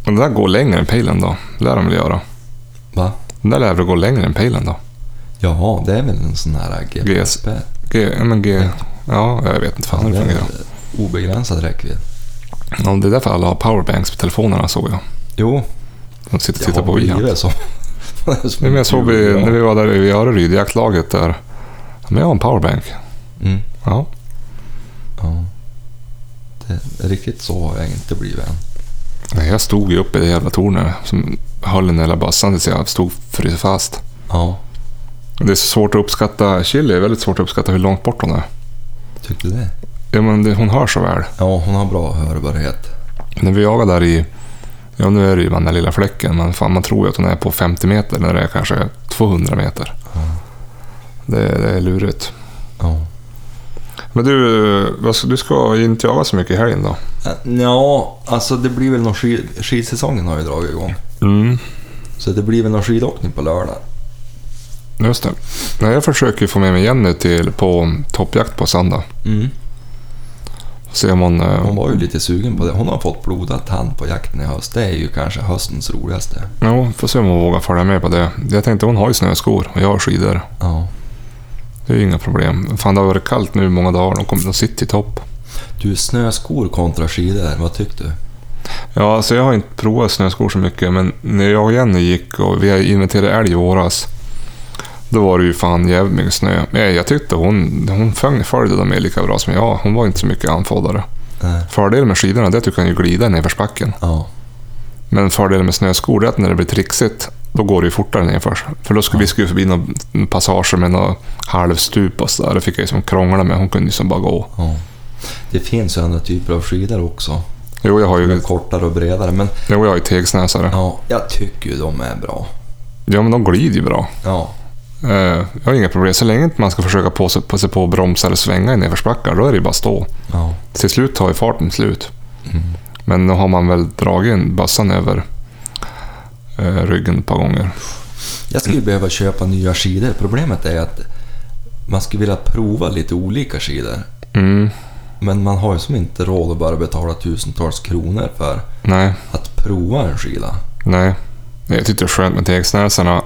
[SPEAKER 2] Den där går längre än pejlen då. Det lär de väl göra.
[SPEAKER 1] Va?
[SPEAKER 2] Den där lär väl gå längre än pejlen då?
[SPEAKER 1] Ja, det är väl en sån här GPSP.
[SPEAKER 2] G, ja, men G, ja, jag vet inte fan hur det fungerar.
[SPEAKER 1] Obegränsad räckvidd.
[SPEAKER 2] Ja, det är därför alla har powerbanks på telefonerna såg jag.
[SPEAKER 1] Jo,
[SPEAKER 2] De sitter och
[SPEAKER 1] jag
[SPEAKER 2] tittar
[SPEAKER 1] har
[SPEAKER 2] på igen.
[SPEAKER 1] blivit så. Det är som
[SPEAKER 2] Nej, men jag såg vi,
[SPEAKER 1] Ja.
[SPEAKER 2] när vi var där i Örebro, det jaktlaget där. Men jag har en powerbank.
[SPEAKER 1] Mm,
[SPEAKER 2] Ja,
[SPEAKER 1] ja. Det, riktigt så har jag inte blivit än.
[SPEAKER 2] Nej, jag stod ju uppe i det jävla tornet som höll den hela bassan tills jag stod fryst fast.
[SPEAKER 1] Ja,
[SPEAKER 2] Det är så svårt att uppskatta, Chili är väldigt svårt att uppskatta hur långt bort hon är.
[SPEAKER 1] tyckte det.
[SPEAKER 2] Ja, men det, hon hör så väl.
[SPEAKER 1] Ja, hon har bra hörbarhet.
[SPEAKER 2] När vi jagade där i, ja nu är det ju bara den där lilla fläcken, men fan man tror ju att hon är på 50 meter när det är kanske 200 meter. Det, det är lurigt.
[SPEAKER 1] Ja.
[SPEAKER 2] Men du, vad ska- du ska ju inte jaga så mycket i helgen då?
[SPEAKER 1] Äh, Ja, alltså det blir väl någon skid, skidsäsongen har ju dragit igång.
[SPEAKER 2] Mm,
[SPEAKER 1] Så det blir väl någon skidåkning på lördag.
[SPEAKER 2] just det. Nej, jag försöker ju få med mig Jenny till, på toppjakt på söndag.
[SPEAKER 1] Mm.
[SPEAKER 2] Se om hon... eh,
[SPEAKER 1] Hon var ju lite sugen på det. Hon har fått blodad tand på jakten i höst. Det är ju kanske höstens roligaste.
[SPEAKER 2] Ja, får se om hon vågar följa med på det. Jag tänkte hon har ju snöskor och jag har skidor.
[SPEAKER 1] Ja.
[SPEAKER 2] Det är ju inga problem. Fan, det har varit kallt nu i många dagar. De, kom, de sitter i topp.
[SPEAKER 1] Du, snöskor kontra skidor, vad tyckte du?
[SPEAKER 2] Ja, alltså jag har inte provat snöskor så mycket, men när jag och Jenny gick och vi inventerade älg i våras, då var det ju fan jävligt mycket snö. Men jag tyckte hon, hon föng- följde dem med lika bra som jag. Hon var inte så mycket anfåddare.
[SPEAKER 1] Nej.
[SPEAKER 2] Fördelen med skidorna det är att du kan ju glida nerförsbacken.
[SPEAKER 1] Ja,
[SPEAKER 2] Men fördelen med snöskor det är att när det blir trixigt, då går det ju fortare nerför. För då skulle vi skulle förbi några passager med några halvstup och sådär. Det fick jag ju som krångla med. Hon kunde ju som bara gå.
[SPEAKER 1] ja. Det finns ju andra typer av skidor också.
[SPEAKER 2] Jo, jag har ju,
[SPEAKER 1] De är kortare och bredare, men
[SPEAKER 2] jo, jag har ju tegsnäsare.
[SPEAKER 1] ja, jag tycker ju de är bra.
[SPEAKER 2] Ja, men de glider ju bra.
[SPEAKER 1] Ja,
[SPEAKER 2] Eh, Jag har inga problem. Så länge inte man ska försöka på sig på, sig på att bromsa eller svänga i nedförsbackar, då är det ju bara att stå.
[SPEAKER 1] ja,
[SPEAKER 2] Till slut tar ju farten slut.
[SPEAKER 1] Mm.
[SPEAKER 2] Men då har man väl dragit en bassan över eh, ryggen ett par gånger.
[SPEAKER 1] Jag skulle ju behöva köpa nya skidor. Problemet är att man skulle vilja prova lite olika skidor.
[SPEAKER 2] Mm,
[SPEAKER 1] Men man har ju som inte råd att bara betala tusentals kronor för
[SPEAKER 2] nej,
[SPEAKER 1] att prova en skida.
[SPEAKER 2] nej. Nej, Jag tyckte det var skönt med tegsnäsarna.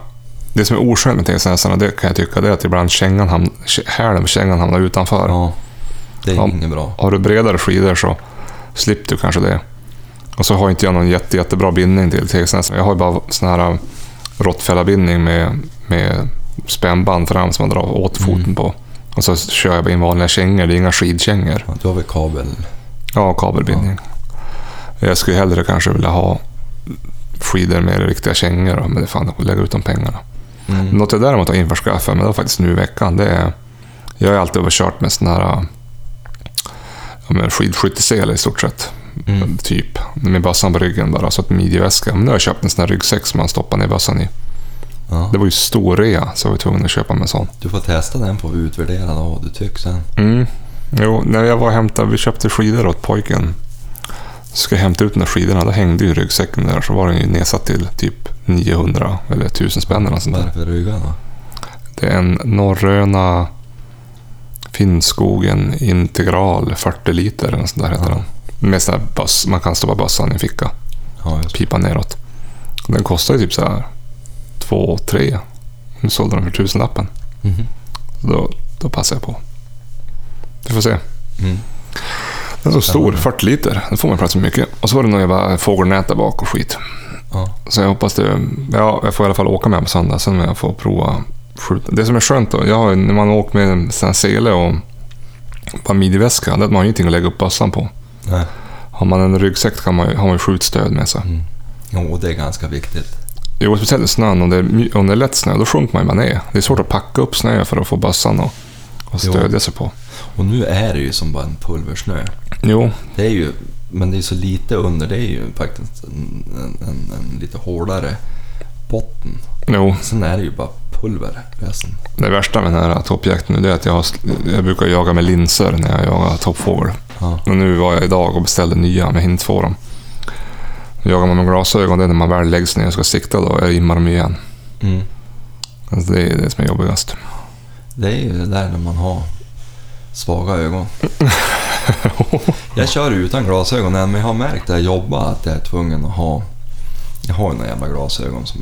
[SPEAKER 2] Det som är oskönt med tegsnäsarna, det kan jag tycka, det är att ibland kängan hamn, kä- hälen på kängan hamnar utanför.
[SPEAKER 1] Ja, det är
[SPEAKER 2] Ja.
[SPEAKER 1] inget bra.
[SPEAKER 2] Har du bredare skidor så slipper du kanske det. Och så har inte jag någon jätte, jättebra bindning till tegsnäsan. Jag har ju bara sån här äh, råttfällarbindning med, med spännband fram som man drar åt foten på. Och så kör jag in vanliga kängor, det är inga skidkängor.
[SPEAKER 1] Ja, Du har väl kabel?
[SPEAKER 2] Ja, kabelbindning. Jag skulle hellre kanske vilja ha skidor med riktiga kängor, då, men det är fan att lägga ut de pengarna.
[SPEAKER 1] Mm.
[SPEAKER 2] Något jag däremot har införskaffat mig, det var faktiskt nu i veckan, det är... Jag har ju alltid kört med sån här ja, men skidskyttesele i stort sett.
[SPEAKER 1] Mm.
[SPEAKER 2] Typ. Med bössan på ryggen bara, så att midjeväska. Men nu har jag köpt en sån här ryggsäck som man stoppar ner bössan i.
[SPEAKER 1] Ja.
[SPEAKER 2] Det var ju stor rea, så jag var tvungen att köpa mig en sån.
[SPEAKER 1] Du får testa den får vi utvärdera då, vad du tycker sen.
[SPEAKER 2] Mm. Jo, när jag var och hämtade, vi köpte skidor åt pojken. Så ska jag hämta ut de där skidorna, då hängde ju ryggsäcken där. Så var den ju nedsatt till typ 900 eller 1000 spänn eller något sånt
[SPEAKER 1] Vad är
[SPEAKER 2] där.
[SPEAKER 1] det för ryggar då?
[SPEAKER 2] Det är en norröna Finnskogen integral 40 liter eller något sånt där heter
[SPEAKER 1] Ja.
[SPEAKER 2] den. Med sån här böss, man kan stoppa bössan i en ficka,
[SPEAKER 1] Ja, just.
[SPEAKER 2] pipa neråt. Den kostar ju typ så här 2 3 Nu sålde den för tusenlappen.
[SPEAKER 1] Mhm.
[SPEAKER 2] Så Då, då passar jag på. Vi får se.
[SPEAKER 1] Mm.
[SPEAKER 2] Den var stor, 40 liter. Då får man plats med mycket. Och så var det någon jävla fågelnät där bak och skit.
[SPEAKER 1] Ja.
[SPEAKER 2] Så jag hoppas det... Ja, jag får i alla fall åka med på söndag. Sen när jag får prova skjuta. Det som är skönt då, jag har, ju- när man åker med en sån här sele och bara midjeväska, det är att man har ingenting att lägga upp bössan på.
[SPEAKER 1] Nej.
[SPEAKER 2] Har man en ryggsäck kan man, ju- har man ju skjutstöd med sig.
[SPEAKER 1] Jo, och det är ganska viktigt.
[SPEAKER 2] Jo, speciellt i snön. Om det, är, my- om det är lätt snö, då sjunker man ju bara ner. Det är svårt att packa upp snö för att få bössan och, och
[SPEAKER 1] Jo.
[SPEAKER 2] stödja sig på.
[SPEAKER 1] Och nu är det ju som bara en pulversnö.
[SPEAKER 2] Jo,
[SPEAKER 1] Det är ju, men det är så lite under, det är ju faktiskt en, en, en, en lite hårdare botten.
[SPEAKER 2] jo.
[SPEAKER 1] Sen är det ju bara pulver resten.
[SPEAKER 2] Det värsta med den här toppjakten nu det är att jag, har, jag brukar jaga med linser när jag jagar toppfågel.
[SPEAKER 1] Ja.
[SPEAKER 2] Men nu var jag idag och beställde nya, men jag inte få dem. Jagar man med glasögon, det är när man väl läggs ner och ska sikta, då rimmar de igen.
[SPEAKER 1] Mm.
[SPEAKER 2] Alltså det är det som är jobbigast.
[SPEAKER 1] Det är ju det där när man har svaga ögon. Jag kör utan glasögon än, men jag har märkt där jag jobbar att jag är tvungen att ha... Jag har ju några jävla glasögon som...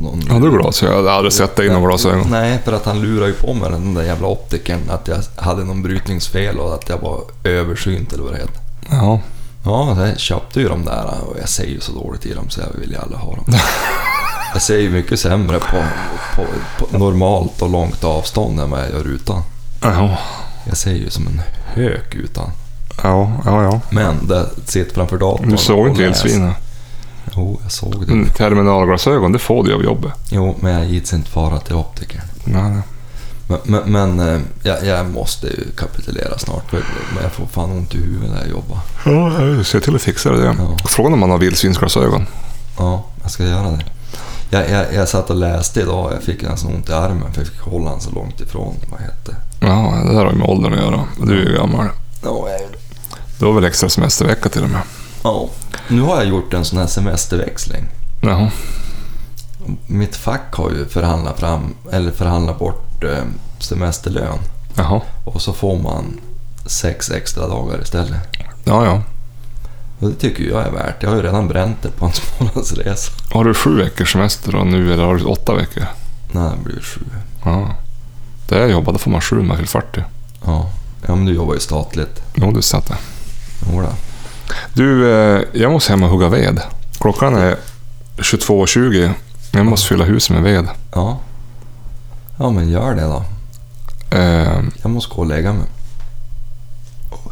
[SPEAKER 1] Någon,
[SPEAKER 2] Har du glasögon? Jag hade aldrig sett dig inom glasögon.
[SPEAKER 1] Nej, för att han lurar ju på mig, den där jävla optikern, att jag hade någon brytningsfel och att jag var översynt eller vad det heter.
[SPEAKER 2] Ja.
[SPEAKER 1] Ja, jag köpte ju de där och jag ser ju så dåligt i dem så jag vill ju aldrig ha dem. Jag ser ju mycket sämre på, på, på normalt och långt avstånd än vad jag gör utan.
[SPEAKER 2] Ja.
[SPEAKER 1] Jag ser ju som en hök utan.
[SPEAKER 2] Ja, ja, ja.
[SPEAKER 1] Men det sitter framför datorn
[SPEAKER 2] Du såg
[SPEAKER 1] och
[SPEAKER 2] inte Mm.
[SPEAKER 1] läser.
[SPEAKER 2] vildsvinen.
[SPEAKER 1] Jo, jag såg det.
[SPEAKER 2] Men Terminalglasögon, det får du av jobbet.
[SPEAKER 1] Jo, men jag gick inte fara till optikern.
[SPEAKER 2] Nej, nej.
[SPEAKER 1] Men, men, men eh, jag, jag måste ju kapitulera snart. för- Men jag får fan ont i huvudet när jag jobbar.
[SPEAKER 2] Ja, se till att fixa det.
[SPEAKER 1] Ja.
[SPEAKER 2] Frågan om man har vildsvinsglasögon.
[SPEAKER 1] Ja, jag ska göra det. Jag, jag, jag satt och läste idag jag fick en sån ont i armen för jag fick hålla den så långt ifrån. Vad hette det?
[SPEAKER 2] Ja, det där har ju med åldern att göra. Du är ju gammal.
[SPEAKER 1] Ja, jag gjorde det.
[SPEAKER 2] Du har väl extra semestervecka till och med?
[SPEAKER 1] Ja. Nu har jag gjort en sån här semesterväxling.
[SPEAKER 2] Jaha.
[SPEAKER 1] Mitt fack har ju förhandlat, fram, eller förhandlat bort eh, semesterlön.
[SPEAKER 2] Jaha.
[SPEAKER 1] Och så får man sex extra dagar istället.
[SPEAKER 2] Ja, ja.
[SPEAKER 1] Och det tycker jag är värt. Jag har ju redan bränt det på en månadsresa.
[SPEAKER 2] Har du sju veckors semester då nu eller har du åtta veckor?
[SPEAKER 1] Nej, det blir sju.
[SPEAKER 2] Ja. Där jag jobbade får man sju när man fyller 40.
[SPEAKER 1] Ja. ja, men du jobbar ju statligt.
[SPEAKER 2] Jo, du satt det.
[SPEAKER 1] Jodå.
[SPEAKER 2] Du, eh, jag måste hem och hugga ved. Klockan är 22.20. Jag måste fylla huset med ved.
[SPEAKER 1] Ja. Ja, men gör det då.
[SPEAKER 2] Eh,
[SPEAKER 1] Jag måste gå och lägga mig.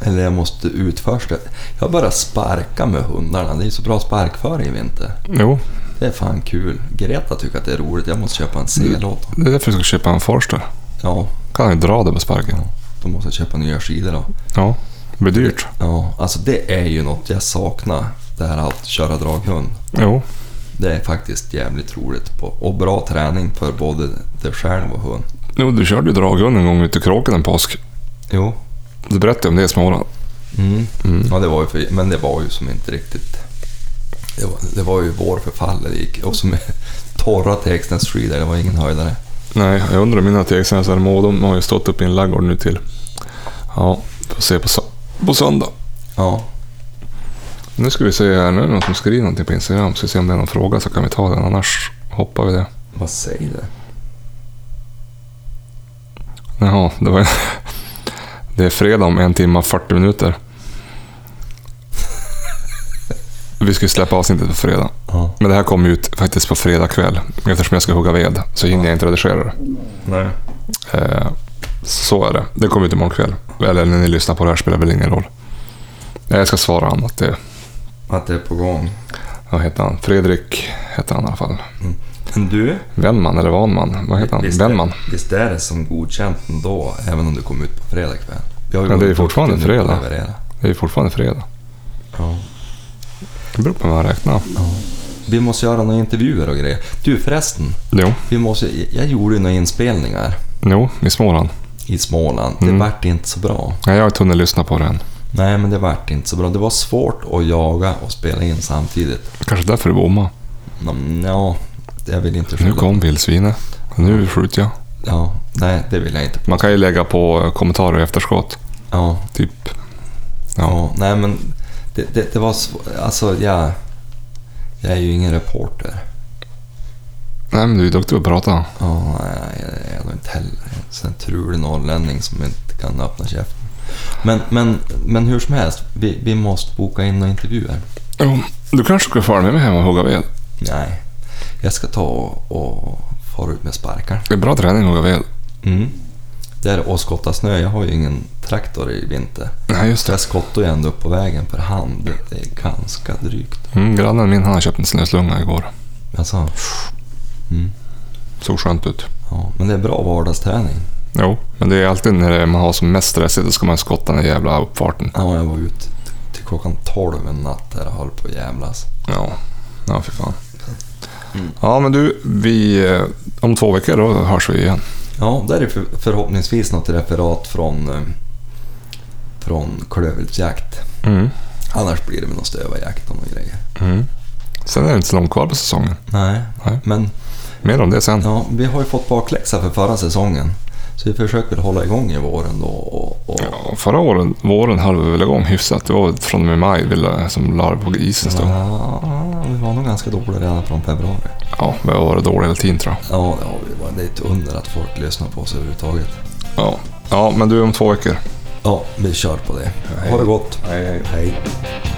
[SPEAKER 1] Eller jag måste ut först. Jag bara sparka med hundarna. Det är så bra sparkföring i vinter.
[SPEAKER 2] jo,
[SPEAKER 1] Det är fan kul. Greta tycker att det är roligt. Jag måste köpa en sel åt dem.
[SPEAKER 2] det är därför jag ska köpa en Forster.
[SPEAKER 1] Ja,
[SPEAKER 2] Kan jag dra det på sparken.
[SPEAKER 1] då måste jag köpa nya skidor då.
[SPEAKER 2] Ja, det blir dyrt.
[SPEAKER 1] Ja, alltså det är ju något jag saknar. Det här att köra draghund.
[SPEAKER 2] Jo,
[SPEAKER 1] Det är faktiskt jävligt roligt på, och bra träning för både dig själv och hund.
[SPEAKER 2] jo du körde ju draghund en gång ute i kråken en påsk.
[SPEAKER 1] Jo.
[SPEAKER 2] Du berättade om det i Småland.
[SPEAKER 1] Mm. Ja, det var ju för, men det var ju som inte riktigt... Det var, det var ju vår förfall det gick. Och som torra Tegsnäs skidor, det var ingen höjdare.
[SPEAKER 2] Nej, jag undrar om mina tegsnäsare må. De har ju stått upp i en laggård nu till. Ja, får se på, sö- på söndag.
[SPEAKER 1] Ja,
[SPEAKER 2] Nu ska vi se här, nu är det någon som skriver någonting på Instagram. Ska vi se om det är någon fråga så kan vi ta den, annars hoppar vi det.
[SPEAKER 1] vad säger du?
[SPEAKER 2] Jaha, det var Det är fredag om en timme och 40 minuter. Vi ska ju släppa avsnittet på fredag.
[SPEAKER 1] Ja.
[SPEAKER 2] Men det här kommer ut faktiskt på fredag kväll. Eftersom jag ska hugga ved så hinner jag inte redigera det.
[SPEAKER 1] Nej.
[SPEAKER 2] Eh, så är det. Det kommer ut imorgon kväll. Eller när ni lyssnar på det här spelar väl ingen roll. Nej, Jag ska svara annat. Det,
[SPEAKER 1] Att det är på gång.
[SPEAKER 2] vad heter han? Fredrik heter han i alla fall.
[SPEAKER 1] Men du?
[SPEAKER 2] Wenman eller Vanman? Vad heter han?
[SPEAKER 1] Visst är-
[SPEAKER 2] Wenman.
[SPEAKER 1] Visst är det som godkänt ändå, även om du kom ut på fredag kväll? Vi har ju
[SPEAKER 2] Ja, det är
[SPEAKER 1] varit
[SPEAKER 2] fortfarande
[SPEAKER 1] duktiga nu på att
[SPEAKER 2] fredag.
[SPEAKER 1] leverera.
[SPEAKER 2] Det är ju fortfarande fredag.
[SPEAKER 1] Ja.
[SPEAKER 2] Det beror på hur man räknar.
[SPEAKER 1] Vi måste göra några intervjuer och grejer. Du förresten,
[SPEAKER 2] Jo,
[SPEAKER 1] vi måste, jag gjorde ju några inspelningar
[SPEAKER 2] jo i Småland.
[SPEAKER 1] i Småland. Det
[SPEAKER 2] Mm.
[SPEAKER 1] vart inte så bra.
[SPEAKER 2] Nej, jag har inte hunnit lyssna på det än.
[SPEAKER 1] Nej, men det vart inte så bra. Det var svårt att jaga och spela in samtidigt.
[SPEAKER 2] Kanske därför du bommade.
[SPEAKER 1] Mm, Ja, jag vill inte
[SPEAKER 2] Nu
[SPEAKER 1] skylla-
[SPEAKER 2] kom vildsvinet. Och Nu skjuter jag.
[SPEAKER 1] Ja, nej, det vill jag inte.
[SPEAKER 2] Man kan ju lägga på kommentarer i efterskott.
[SPEAKER 1] Ja,
[SPEAKER 2] Typ. Ja.
[SPEAKER 1] ja nej men det, det, det var svårt. Alltså, jag, jag är ju ingen reporter.
[SPEAKER 2] Nej, men du är duktig på att prata.
[SPEAKER 1] Ja, nej, jag är nog inte heller en sån här trulig norrlänning som inte kan öppna käften. Men, men, men hur som helst, vi, vi måste boka in några intervjuer.
[SPEAKER 2] Jo, du kanske ska följa med mig hem och hugga ved.
[SPEAKER 1] Nej, jag ska ta och, och fara ut med sparkar.
[SPEAKER 2] Det är bra träning att hugga ved.
[SPEAKER 1] Mm. Det är och skotta snö. Jag har ju ingen traktor i vinter.
[SPEAKER 2] Nej, just
[SPEAKER 1] Så
[SPEAKER 2] det.
[SPEAKER 1] jag skottar ju ändå upp på vägen för hand. Det är ganska drygt.
[SPEAKER 2] Mm, grannen min han har köpt en snöslunga igår.
[SPEAKER 1] Alltså, mm.
[SPEAKER 2] Såg skönt ut.
[SPEAKER 1] ja. Men det är bra vardagsträning.
[SPEAKER 2] Jo, men det är alltid när det- man har som mest stressigt, då ska man skotta den jävla uppfarten.
[SPEAKER 1] Ja, jag var ute till klockan 12 en natt där och höll på att jävlas.
[SPEAKER 2] Ja, ja för fan.
[SPEAKER 1] Mm.
[SPEAKER 2] Ja, men du, vi... eh, Om två veckor då hörs vi igen.
[SPEAKER 1] Ja, där är för, förhoppningsvis något referat från, eh, från klövviltsjakt.
[SPEAKER 2] Mm.
[SPEAKER 1] Annars blir det väl någon stövarjakt och några grejer.
[SPEAKER 2] Mm. Sen är det inte så långt kvar på säsongen.
[SPEAKER 1] Nej,
[SPEAKER 2] Nej.
[SPEAKER 1] men
[SPEAKER 2] Mer om det sen.
[SPEAKER 1] ja, vi har ju fått bakläxa för förra säsongen. Så vi försöker hålla igång i våren då. Och, och,
[SPEAKER 2] Ja, förra åren, våren höll vi väl igång hyfsat. Det var väl från och med maj vi la- som la det på isen stod.
[SPEAKER 1] Ja, vi var nog ganska dåliga redan från februari.
[SPEAKER 2] Ja, vi har varit dåliga hela tiden tror jag.
[SPEAKER 1] Ja, det har vi varit. Det är ett under att folk lyssnar på oss överhuvudtaget.
[SPEAKER 2] Ja. ja, men du om två veckor.
[SPEAKER 1] Ja, vi kör på det.
[SPEAKER 2] Hej.
[SPEAKER 1] Ha det gott.
[SPEAKER 2] Hej, hej.
[SPEAKER 1] Hej.